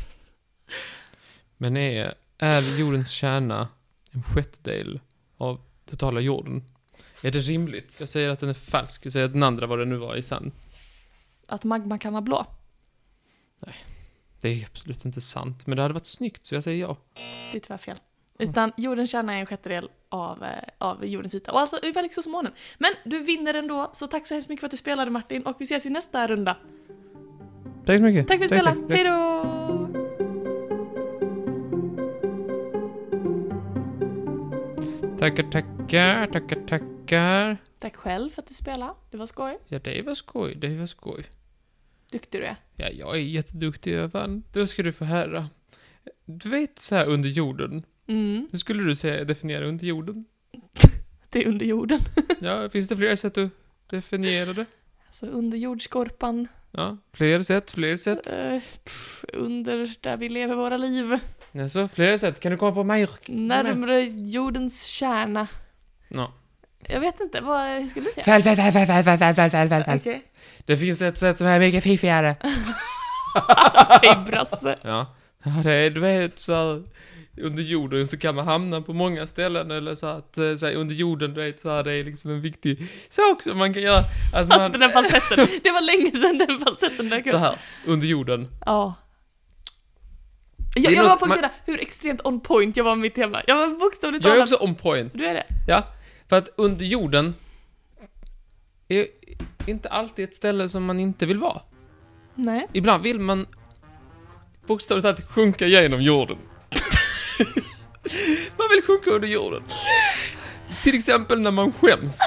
Speaker 1: Men är, är jordens kärna en sjättedel av totala jorden? Är det rimligt? Jag säger att den är falsk, jag säger att den andra, vad det nu var, är sann.
Speaker 2: Att magma kan vara blå.
Speaker 1: Det är absolut inte sant, men det hade varit snyggt, så jag säger ja.
Speaker 2: Det är tyvärr fel.
Speaker 1: Mm.
Speaker 2: Utan jordens kärna är en sjättedel av, eh, av jordens yta. Och alltså ungefär lika stor som månen. Men du vinner ändå, så tack så hemskt mycket för att du spelade Martin. Och vi ses i nästa runda.
Speaker 1: Tack så mycket.
Speaker 2: Tack för att du spelade.
Speaker 1: tack.
Speaker 2: Hej då!
Speaker 1: Tackar, tackar, tackar, tackar.
Speaker 2: Tack själv för att du spelade. Det var skoj.
Speaker 1: Ja, det var skoj, det var skoj.
Speaker 2: Duktig du är.
Speaker 1: Ja, jag är jätteduktig, jag vann. Då ska du få höra. Du vet så här under jorden,
Speaker 2: Mm,
Speaker 1: hur skulle du säga definiera under jorden?
Speaker 2: det är under jorden.
Speaker 1: Ja, finns det fler sätt att definiera det?
Speaker 2: Alltså under jordskorpan.
Speaker 1: Ja, fler sätt, fler sätt.
Speaker 2: Eh, pff, under där vi lever våra liv.
Speaker 1: Alltså, flera sätt. Kan du komma på mer?
Speaker 2: Närmare jordens kärna.
Speaker 1: Ja.
Speaker 2: Jag vet inte, vad, hur skulle du säga?
Speaker 1: Väl, väl, väl, väl, väl, väl, väl, väl, väl, väl.
Speaker 2: Okej.
Speaker 1: Det finns ett sätt som är mycket fiffigare.
Speaker 2: Hej brasse.
Speaker 1: Ja. Ja, det är, du vet, så här, under jorden så kan man hamna på många ställen eller så att, eh, så här, under jorden, du vet, så här, det är liksom en viktig sak som man kan göra. Att
Speaker 2: Alltså den
Speaker 1: man,
Speaker 2: där falsetten. Det var länge sedan den falsetten dök
Speaker 1: så
Speaker 2: upp.
Speaker 1: här, under jorden.
Speaker 2: Ja.
Speaker 1: Det
Speaker 2: Jag,
Speaker 1: är
Speaker 2: jag
Speaker 1: något
Speaker 2: var på
Speaker 1: man-
Speaker 2: att man... hur extremt on point jag var med mitt tema. Jag var bokstavligt
Speaker 1: Jag är
Speaker 2: talat.
Speaker 1: också on point.
Speaker 2: Du är det?
Speaker 1: Ja, för att under jorden är inte alltid ett ställe som man inte vill vara.
Speaker 2: Nej.
Speaker 1: Ibland vill man bokstavligt talat sjunka genom jorden. man vill sjunka under jorden. Till exempel när man skäms.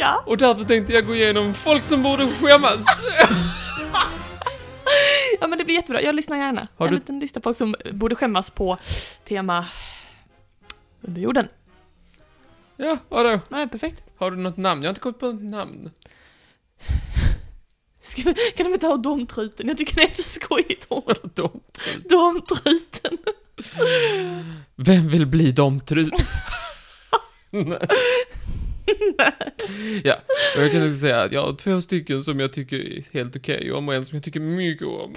Speaker 2: Ja.
Speaker 1: Och därför tänkte jag gå igenom folk som borde skämmas.
Speaker 2: Ja men det blir jättebra, jag lyssnar gärna.
Speaker 1: Har
Speaker 2: en
Speaker 1: du-
Speaker 2: liten lista på folk som borde skämmas på tema under jorden.
Speaker 1: ja, vadå?
Speaker 2: Nej, perfekt.
Speaker 1: Har du något namn? Jag har inte kommit på något namn.
Speaker 2: Ska, vi- kan de inte ha domtruten? Jag tycker det är ett så skojigt ord.
Speaker 1: Dom.
Speaker 2: Domtruten.
Speaker 1: Vem vill bli domtrut? Nej. ja, och jag kan också säga att jag har två stycken som jag tycker är helt okej om och en som jag tycker mycket om.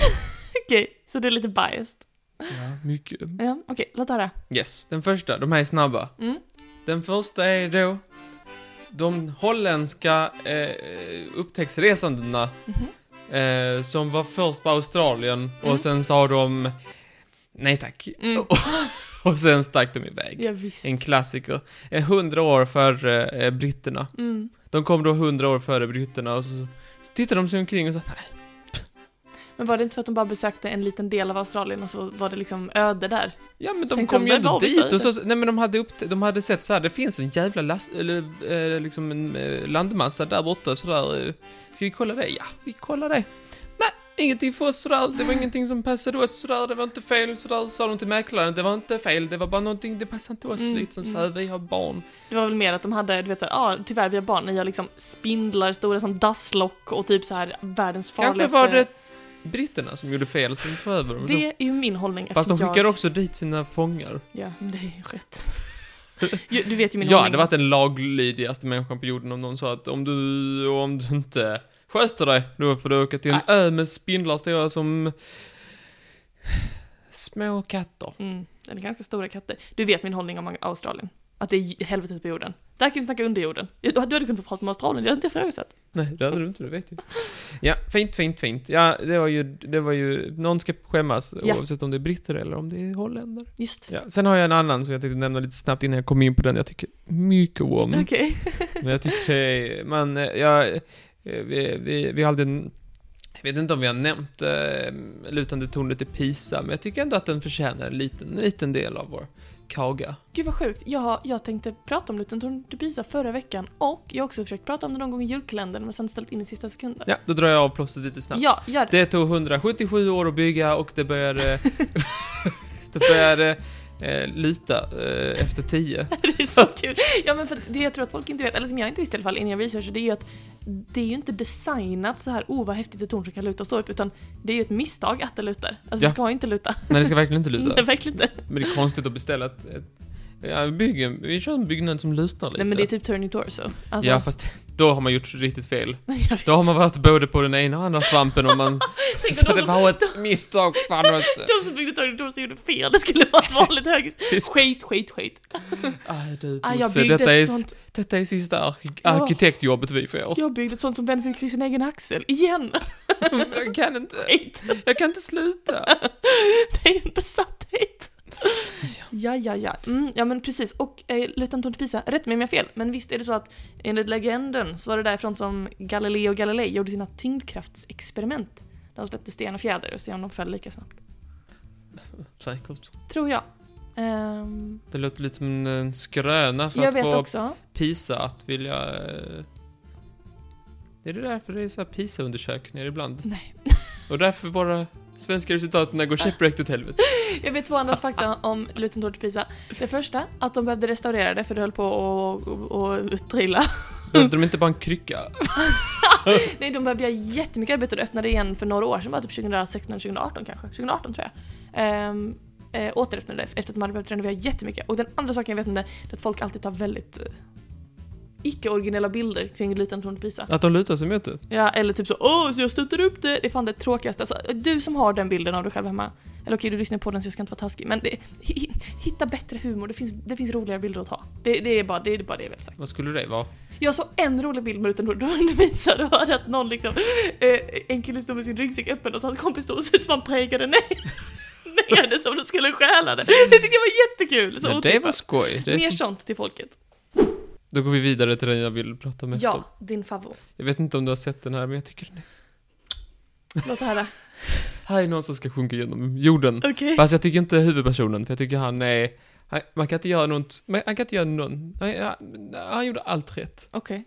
Speaker 2: Okej, så det är lite biased.
Speaker 1: Ja, mycket.
Speaker 2: Ja, okej, låt höra.
Speaker 1: Yes. Den första, de här är snabba.
Speaker 2: Mm.
Speaker 1: Den första är då de holländska eh, upptäcktsresandena
Speaker 2: Mhm.
Speaker 1: eh, som var först på Australien
Speaker 2: Mm.
Speaker 1: och sen sa de nej tack.
Speaker 2: Mm.
Speaker 1: Och, och sen stack de iväg.
Speaker 2: Ja, visst.
Speaker 1: Oh. En klassiker. Eh, Hundra år före eh, britterna.
Speaker 2: Mm.
Speaker 1: De kom då hundra år före britterna och så, så tittade de sig omkring och sa nej.
Speaker 2: Men var det inte för att de bara besökte en liten del av Australien och så var det liksom öde där?
Speaker 1: Ja men
Speaker 2: Så
Speaker 1: de
Speaker 2: tänkte
Speaker 1: kom
Speaker 2: de,
Speaker 1: ju
Speaker 2: "Men
Speaker 1: ändå
Speaker 2: vad har vi
Speaker 1: dit och
Speaker 2: ställt
Speaker 1: så, nej men de hade, upp, de hade sett så här, det finns en jävla last, eller eh, liksom en eh, landmassa där borta sådär. eh, Ska vi kolla det? Ja, vi kollar det. Nej, ingenting för oss sådär, det var ingenting som passade oss sådär, det var inte fel sådär, sa de till mäklaren, det var inte fel, det var bara någonting, det passade inte oss
Speaker 2: Mm,
Speaker 1: liksom
Speaker 2: mm.
Speaker 1: såhär, vi har barn.
Speaker 2: Det var väl mer att de hade, du vet såhär, ja ah, tyvärr vi har barn, ni har liksom spindlar stora som dasslock och typ så här världens
Speaker 1: Kanske
Speaker 2: farligaste...
Speaker 1: var det britterna som gjorde fel som tog över dem. Liksom.
Speaker 2: Det är ju min hållning
Speaker 1: Fast de
Speaker 2: eftersom
Speaker 1: skickade också dit sina fångar.
Speaker 2: jag... Ja, men det är ju rätt. Ju- Du vet ju min
Speaker 1: Jag
Speaker 2: hållning.
Speaker 1: hade varit den laglydigaste människan på jorden om någon sa att om du, och om du inte sköter dig, då får du åka till en ö med spindlar stora som små katter.
Speaker 2: Mm, eller ganska stora katter. Du vet min hållning om Australien. Att det är j- helvetet på jorden. Där kan vi snacka under jorden. Ja, Du du hade kunnat få prata om Australien, det hade inte jag ifrågasatt.
Speaker 1: Nej, det hade du inte, det vet du. Ja, fint, fint, fint. Ja, det var ju, det var ju, någon ska skämmas
Speaker 2: Ja.
Speaker 1: oavsett om det är britter eller om det är holländare.
Speaker 2: Just.
Speaker 1: Ja, sen har jag en annan som jag tänkte nämna lite snabbt innan jag kommer in på den jag tycker mycket om.
Speaker 2: Okej.
Speaker 1: Men jag tycker det är, man, eh, jag, eh, vi, vi, vi hade en Jag vet inte om vi har nämnt eh, lutande tornet i Pisa, men jag tycker ändå att den förtjänar en liten, en liten del av vår kaga.
Speaker 2: Gud vad sjukt, jag, jag tänkte prata om Luton Torn till Pisa förra veckan och jag har också försökt prata om det någon gång i julkalendern men sen ställt in i sista sekunden.
Speaker 1: Ja, då drar jag av plåstret lite snabbt.
Speaker 2: Ja, gör det.
Speaker 1: Det tog 177 år att bygga och det började... det började eh, luta eh, efter 10.
Speaker 2: Det är så kul. Ja men för det jag tror att folk inte vet, eller som jag inte visste i alla fall innan jag researchade, det är ju att det är ju inte designat så här oh vad häftigt ett torn som kan luta och stå upp utan det är ju ett misstag att det lutar. Alltså
Speaker 1: Ja.
Speaker 2: det ska inte luta.
Speaker 1: Men det ska verkligen inte
Speaker 2: Nej,
Speaker 1: luta.
Speaker 2: verkligen inte.
Speaker 1: Men det är konstigt att beställa ett... ett ja, vi bygger, vi kör en byggnad som lutar lite.
Speaker 2: Nej men det är typ turning torso. Alltså,
Speaker 1: Ja, fast då har man gjort riktigt fel. Då
Speaker 2: jag
Speaker 1: har
Speaker 2: visste.
Speaker 1: man varit både på den ena och andra svampen och man...
Speaker 2: Tänk
Speaker 1: så
Speaker 2: om
Speaker 1: det
Speaker 2: de, som,
Speaker 1: var ett misstag, fan vad...
Speaker 2: de som byggde turning torso gjorde fel, det skulle vara ett vanligt höghus. Skit, skit, skit.
Speaker 1: Aj du
Speaker 2: Ah, jag
Speaker 1: Bosse,
Speaker 2: byggde
Speaker 1: detta
Speaker 2: ett
Speaker 1: är,
Speaker 2: sånt,
Speaker 1: detta är sista ark-
Speaker 2: Ja.
Speaker 1: arkitektjobbet vi får.
Speaker 2: jag byggde ett sånt som vände sig kring sin egen axel. Igen!
Speaker 1: Jag kan inte,
Speaker 2: Skit.
Speaker 1: jag kan inte sluta.
Speaker 2: Det är en besatthet. Ja, ja, ja. Mm, ja men precis. Och eh, Lutan Torn till Pisa, rätt mig om jag har fel, men visst är det så att enligt legenden så var det därifrån som Galileo Galilei gjorde sina tyngdkraftsexperiment. Där han släppte sten och fjäder och se om de föll lika snabbt.
Speaker 1: Säkert.
Speaker 2: Tror jag. Ehm,
Speaker 1: Det låter lite som en skröna för
Speaker 2: jag
Speaker 1: att
Speaker 2: vet
Speaker 1: få
Speaker 2: också.
Speaker 1: Pisa att vilja... eh, Är det därför det är så här Pisa-undersökningar ibland?
Speaker 2: Nej.
Speaker 1: Och därför våra svenska resultaten går käpprätt åt helvete.
Speaker 2: Jag vet två andra fakta om Lutan Torn till Pisa. Det första, att de behövde restaurera det för det höll på att att- att trilla.
Speaker 1: Behövde de inte bara en krycka?
Speaker 2: Nej, de behövde göra jättemycket arbete och det öppnade igen för några år sedan, bara typ 2016 eller 2018 kanske. 2018 tror jag. Um, eh, återöppnade det efter att man hade behövt renovera jättemycket. Och den andra saken jag vet inte, det är att folk alltid tar väldigt eh, icke-originella bilder kring Lutan Tornet Pisa.
Speaker 1: Att de lutar sig mot det?
Speaker 2: Ja, eller typ så åh, så jag stöttar upp det. Det är fan det tråkigaste. Alltså, du som har den bilden av dig själv hemma, eller okej du lyssnar på den så jag ska inte vara taskig, men det, hi- hi- hitta bättre humor. Det finns, det finns roligare bilder att ha. Det, det, är bara, det är bara det jag vill säga.
Speaker 1: Vad skulle det vara?
Speaker 2: Jag såg en rolig bild med utan då du visade och hörde att någon liksom, eh, en kille stod med sin ryggsäck öppen och så hans kompis stod och såg ut som han prägade ner, ner det som de skulle stjäla det. Det tyckte jag var jättekul! Så
Speaker 1: Men Mm. det
Speaker 2: otippat.
Speaker 1: var skoj. Det,
Speaker 2: Mer sånt till folket.
Speaker 1: då går vi vidare till den jag vill prata mest om.
Speaker 2: Ja, din favvo.
Speaker 1: Jag vet inte om du har sett den här, men jag tycker den är...
Speaker 2: Låt höra.
Speaker 1: Här är någon som ska sjunka genom jorden.
Speaker 2: Okej.
Speaker 1: Fast jag tycker inte huvudpersonen, för jag tycker han är... Han, man kan inte göra något... Man, han kan inte göra någon... Han, han, han gjorde allt rätt.
Speaker 2: Okej.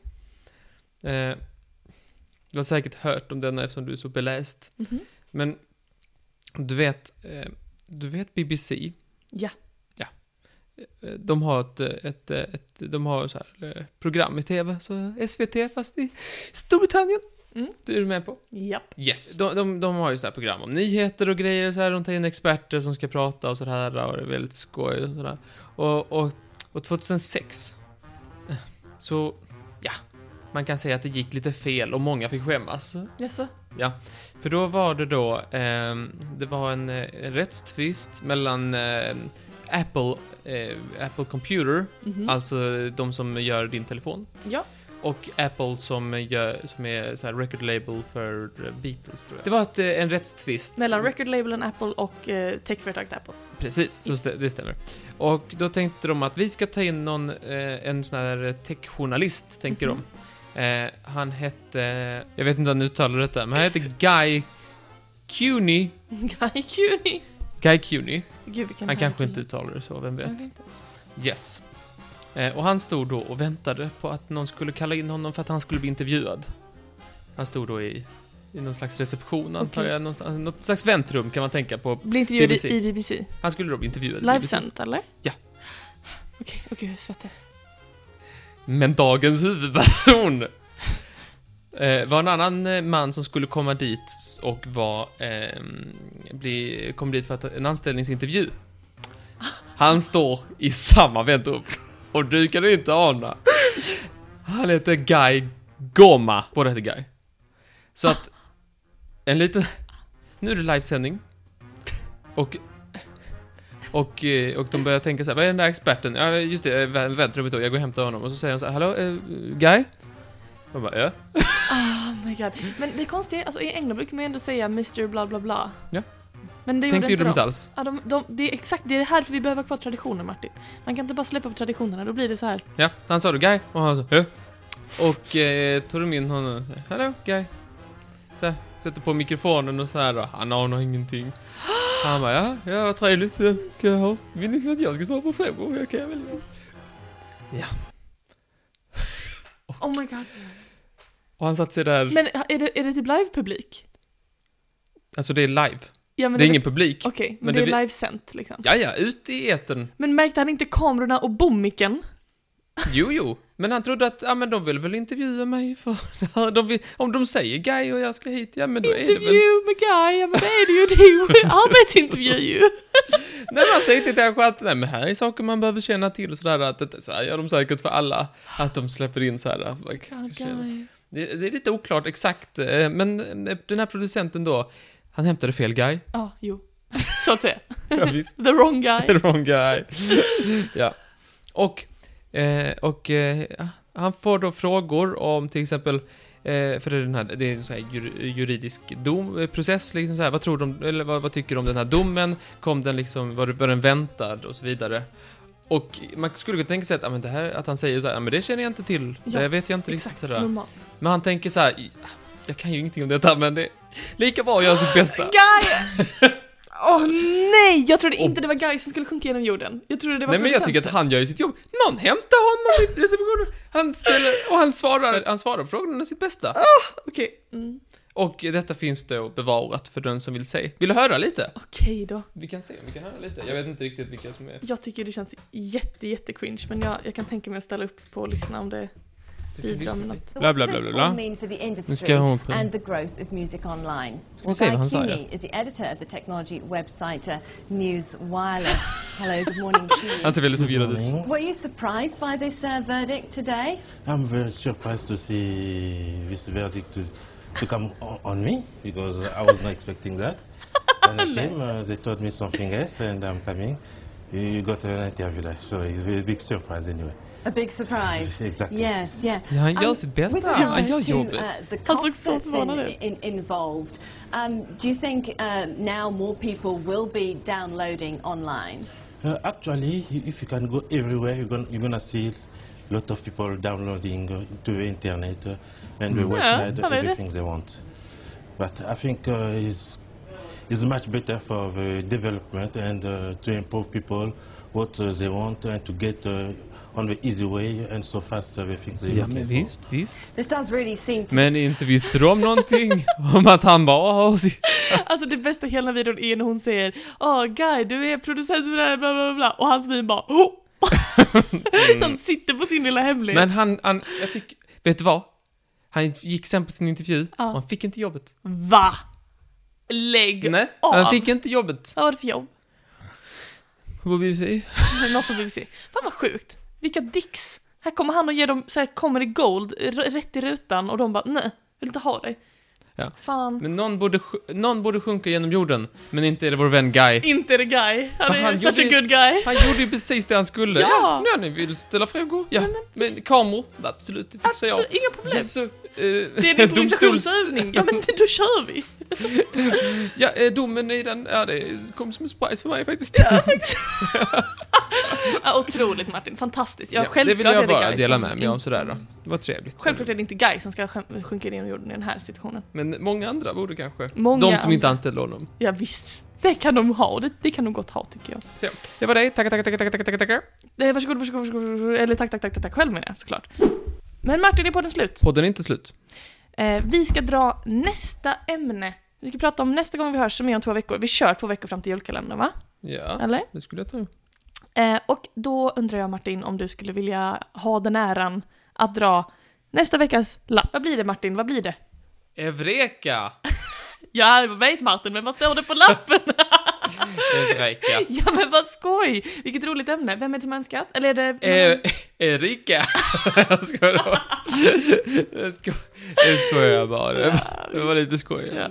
Speaker 1: Eh, du har säkert hört om denna eftersom du är så beläst.
Speaker 2: Mhm.
Speaker 1: Men du vet... Eh, du vet BBC?
Speaker 2: Ja.
Speaker 1: Ja. Eh, De har ett, eh, ett, eh, ett de har så här, eh, program i TV, så SVT fast i Storbritannien.
Speaker 2: Mm.
Speaker 1: Du är du med på?
Speaker 2: Japp.
Speaker 1: Yes. De, de, de har ju sådana här program om nyheter och grejer och så här. De tar in experter som ska prata och sådär och det är väldigt skoj och sådär. Och, och, och 2006 eh, så, ja, man kan säga att det gick lite fel och många fick skämmas.
Speaker 2: Jaså?
Speaker 1: För då var det då, ehm, det var en, eh, en rättstvist mellan ehm, Apple, eh, Apple Computer,
Speaker 2: Mhm.
Speaker 1: alltså de som gör din telefon,
Speaker 2: Ja.
Speaker 1: och Apple som, gör, som är så här record label för eh, Beatles tror jag. Det var ett, eh, en rättstvist.
Speaker 2: Mellan
Speaker 1: som-
Speaker 2: recordlabelen Apple och eh, techföretaget Apple.
Speaker 1: Precis, så
Speaker 2: Yes.
Speaker 1: stä- det stämmer. Och då tänkte de att vi ska ta in någon, eh, en sån här techjournalist, tänker
Speaker 2: Mhm.
Speaker 1: de. Eh, han hette, jag vet inte hur han uttalar detta, men han hette Guy Cuny.
Speaker 2: Guy Cuny.
Speaker 1: Guy Cuny.
Speaker 2: Gud vilken
Speaker 1: Han
Speaker 2: härlig
Speaker 1: kanske inte
Speaker 2: kille.
Speaker 1: uttalar det så, vem vet.
Speaker 2: Kanske inte.
Speaker 1: Yes. Eh, och han stod då och väntade på att någon skulle kalla in honom för att han skulle bli intervjuad. Han stod då i, i någon slags reception, antar jag. Någonstans, något slags väntrum kan man tänka på.
Speaker 2: Blir intervjuad
Speaker 1: BBC.
Speaker 2: i BBC.
Speaker 1: Han skulle då bli intervjuad.
Speaker 2: Livesänt eller?
Speaker 1: Ja.
Speaker 2: Okej, okej, jag svettas.
Speaker 1: Men dagens huvudperson eh, var en annan eh, man som skulle komma dit och var, ehm, bli, kom dit för att, en anställningsintervju. Han står i samma väntrum och du kan inte ana. Han heter Guy Goma. Båda heter Guy. Så att, en liten... Nu är det livesändning. Och... Och, eh, och de börjar tänka så här, vad är den där experten? Ja, just det, eh, vä- väntrummet då, jag går och hämtar honom. Och så säger de så här, hallå, eh, Guy? Och bara, ja.
Speaker 2: Oh my god. Men det konstiga är, alltså i England brukar man ju ändå säga Mr bla bla bla.
Speaker 1: Ja.
Speaker 2: Men det
Speaker 1: Tänkte gjorde
Speaker 2: gjorde
Speaker 1: de
Speaker 2: inte
Speaker 1: inte
Speaker 2: de.
Speaker 1: alls.
Speaker 2: Ja, de, de, det är exakt, det är här för vi behöver ha kvar traditionen Martin. Man kan inte bara släppa på traditionerna, då blir det så här.
Speaker 1: Ja, han sa då Guy och han sa Hö? Och eh, tog de in honom och sa, Hallå Guy. Så här, Sätter på mikrofonen och så här då. Han anar ingenting. Han bara, ja, ja vad trevligt. så Ska jag ha? Vill ni att jag ska svara på frågor? Jag kan väl.
Speaker 2: Oh my god.
Speaker 1: Och han satt sig där.
Speaker 2: Men är det, är det typ live-publik?
Speaker 1: Alltså det är live.
Speaker 2: Ja, men
Speaker 1: det är ingen publik.
Speaker 2: Okej, men,
Speaker 1: men
Speaker 2: det,
Speaker 1: det
Speaker 2: är
Speaker 1: vi-
Speaker 2: livesänt liksom.
Speaker 1: Ja, ja, ute i etern.
Speaker 2: Men märkte han inte kamerorna och bommiken?
Speaker 1: Jo, jo. Men han trodde att, ja men de vill väl intervjua mig för det här. de vill, Om de säger Guy och jag ska hit, ja men då är det väl...
Speaker 2: Intervju med Guy, ja men det är det ju, det är ju arbetsintervju
Speaker 1: Nej
Speaker 2: ju!
Speaker 1: men han tänkte kanske att, nej men här är saker man behöver känna till och sådär. Att, det- så här gör de säkert för alla. Att de släpper in så här. att man ska
Speaker 2: God,
Speaker 1: känna.
Speaker 2: Guy.
Speaker 1: Det, det är lite oklart exakt, eh, men eh, den här producenten då, han hämtade fel guy.
Speaker 2: Ja, jo. Så att säga.
Speaker 1: Ja, visst.
Speaker 2: The wrong guy.
Speaker 1: Wrong guy. ja. Och, eh, och eh, han får då frågor om till exempel, eh, för det är, den här, det är en sån här jur, juridisk dom, eh, process, liksom så här, vad tror du om, eller vad, vad tycker du om den här domen? Kom den liksom, var, var den väntad och så vidare. Och man skulle kunna tänka sig att, ah, men det här, att han säger så här, ah, men det känner jag inte till,
Speaker 2: Ja,
Speaker 1: det vet jag inte
Speaker 2: Exakt, Mm.
Speaker 1: riktigt sådär.
Speaker 2: normalt.
Speaker 1: Men han tänker så här. jag kan ju ingenting om detta men det är lika bra att göra sitt bästa.
Speaker 2: Guy! Åh nej! Jag trodde
Speaker 1: Och-
Speaker 2: inte det var Guy som skulle sjunka genom jorden. Jag trodde det var
Speaker 1: Nej men jag
Speaker 2: producenten.
Speaker 1: tycker att han gör ju sitt jobb. Någon hämtar honom i receptionen. Han ställer, och han svarar, han svarar på frågorna sitt bästa.
Speaker 2: Okej, mm.
Speaker 1: Och detta finns då bevarat för den som vill se. Vill du höra lite?
Speaker 2: Okej då.
Speaker 1: Vi kan se om vi kan höra lite. Jag vet inte riktigt vilka som är.
Speaker 2: Jag tycker det känns jätte, jätte cringe men jag, jag kan tänka mig att ställa upp på och lyssna om det
Speaker 1: Du kan lyssna
Speaker 2: bidrar med
Speaker 1: typ, lite.
Speaker 2: något.
Speaker 3: So
Speaker 1: Bla,
Speaker 3: what
Speaker 1: bla,
Speaker 3: does
Speaker 1: bla,
Speaker 3: this
Speaker 1: bla,
Speaker 3: all
Speaker 1: bla.
Speaker 3: mean for the
Speaker 1: ska
Speaker 3: industry
Speaker 1: jag ha på-
Speaker 3: and the growth of music online?
Speaker 1: Och se vad han
Speaker 3: Guy
Speaker 1: säger.
Speaker 3: Keeney is the editor of the technology website uh, News Wireless. Hello, good morning to you.
Speaker 1: Han ser väldigt förvirrad ut.
Speaker 3: Were you surprised by this uh, verdict today?
Speaker 4: I'm very surprised to see this verdict to, to come on, on me because uh, I was not expecting that. When I came, uh, they told me something else, and I'm coming. You, you got an interview there, so it's a big surprise anyway.
Speaker 3: A big surprise.
Speaker 4: Exactly.
Speaker 3: Yes, yeah. Um,
Speaker 1: Ja, han gör sitt bästa.
Speaker 3: With
Speaker 1: Han
Speaker 3: regards
Speaker 1: gör
Speaker 3: to
Speaker 1: jobbet.
Speaker 3: uh, the
Speaker 2: Han såg
Speaker 3: cost
Speaker 2: så
Speaker 3: that's in,
Speaker 2: förvånad ut.
Speaker 3: in, involved, um, do you think uh, now more people will be downloading online?
Speaker 4: Uh, actually, i- if you can go everywhere, you're gonna, you're gonna see a lot of people downloading uh, to the internet uh, and the website,
Speaker 2: Mm.
Speaker 4: uh,
Speaker 2: I like
Speaker 4: everything they want. But I think uh, it's, it's much better for the development and uh, to improve people what uh, they want and to get uh, on the easy way and so fast uh, the things they
Speaker 1: Ja
Speaker 4: looking
Speaker 1: men
Speaker 4: for.
Speaker 1: visst, visst.
Speaker 3: This does really seem to
Speaker 1: Men inte visste de någonting om att han bara, "Åh, se-
Speaker 2: Alltså det bästa i hela videon är när hon säger Åh Guy, du är producent för det här, bla bla bla, bla och hans min bara oh!
Speaker 1: Mm.
Speaker 2: Han sitter på sin lilla hemlighet.
Speaker 1: Men han, han jag tycker, vet du vad? Han gick sen på sin intervju
Speaker 2: Ja.
Speaker 1: och han fick inte jobbet.
Speaker 2: Va? Lägg
Speaker 1: Nej,
Speaker 2: av!
Speaker 1: han fick inte jobbet.
Speaker 2: Vad var det för jobb?
Speaker 1: På BBC.
Speaker 2: Något på BBC. Fan vad sjukt. Vilka dicks. Här kommer han och ger dem så här comedy gold r- rätt i rutan och de bara nej, vill inte ha dig.
Speaker 1: Ja.
Speaker 2: Fan.
Speaker 1: Men någon borde, sj- någon borde sjunka genom jorden, men inte är det vår vän Guy.
Speaker 2: Inte the guy. Han
Speaker 1: Fan,
Speaker 2: är
Speaker 1: han
Speaker 2: such a
Speaker 1: gjorde-
Speaker 2: good guy.
Speaker 1: Han gjorde ju precis det han skulle.
Speaker 2: Ja.
Speaker 1: ja nu, ni vill ställa frågor. Ja, men, kameror, absolut, det fixar jag.
Speaker 2: Absolut, inga problem.
Speaker 1: Alltså, Yes, eh,
Speaker 2: Det är en improvisationsövning. Ja men då kör vi.
Speaker 1: ja, eh, domen i den, ja det kom som en surprise för mig faktiskt.
Speaker 2: Ja, otroligt Martin, fantastiskt. Ja,
Speaker 1: Ja, det
Speaker 2: självklart
Speaker 1: vill jag
Speaker 2: är det
Speaker 1: bara
Speaker 2: Guy
Speaker 1: dela
Speaker 2: som-
Speaker 1: med mig av sådär då. Det var trevligt.
Speaker 2: Självklart är det inte Guy som ska skäm- sjunka ner i jorden i den här situationen.
Speaker 1: Men många andra borde kanske.
Speaker 2: Många
Speaker 1: de som inte
Speaker 2: andra.
Speaker 1: anställde honom.
Speaker 2: Ja, visst. Det kan de ha, och det, det kan de gott ha tycker jag.
Speaker 1: Så, det var det. Tackar, tackar, tackar, tackar, tackar, tackar.
Speaker 2: Eh, Varsågod, varsågod, varsågod, varsågod. Eller tack, tack, tack, tack, tack själv menar jag såklart. Men Martin, är podden slut?
Speaker 1: Podden är inte slut.
Speaker 2: Eh, vi ska dra nästa ämne. Vi ska prata om nästa gång vi hörs, som är om två veckor. Vi kör två veckor fram till julkalendern, va?
Speaker 1: Ja,
Speaker 2: Eller?
Speaker 1: det skulle jag tro.
Speaker 2: Eh, och då undrar jag Martin om du skulle vilja ha den äran att dra nästa veckas lapp. Vad blir det Martin? Vad blir det?
Speaker 1: Evreka!
Speaker 2: Ja, jag vet Martin, men vad står det på lappen?
Speaker 1: Evreka.
Speaker 2: ja, men vad skoj! Vilket roligt ämne. Vem är det som har önskat? Eller är det...
Speaker 1: Eh, Erika! jag skojar bara. Jag sko- jag skojar bara. Det var lite skoj.
Speaker 2: Ja.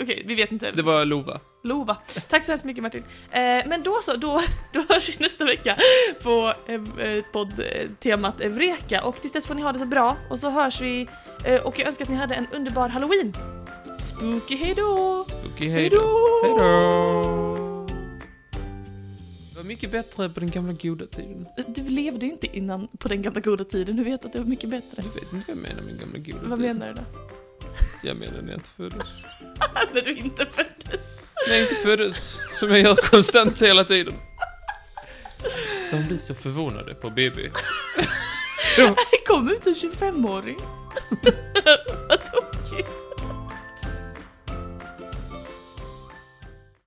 Speaker 2: Okej, vi vet inte.
Speaker 1: Det var Lova.
Speaker 2: Lova. Tack så hemskt mycket Martin. Eh, men då så, då, då hörs vi nästa vecka på eh, eh, poddtemat Evreka och tills dess får ni ha det så bra och så hörs vi eh, och jag önskar att ni hade en underbar halloween. Spooky hejdå!
Speaker 1: Okej, hej då. Hej då. Det var mycket bättre på den gamla goda tiden.
Speaker 2: Du levde ju inte innan på den gamla goda tiden, hur vet du att det var mycket bättre?
Speaker 1: Jag vet inte vad jag menar med gamla goda
Speaker 2: Vad
Speaker 1: tiden.
Speaker 2: menar du då?
Speaker 1: Jag menar när jag inte föddes.
Speaker 2: när du inte föddes.
Speaker 1: Nej, inte föddes. Som jag gör konstant hela tiden. De blir så förvånade på BB.
Speaker 2: Det kom ut en 25-åring.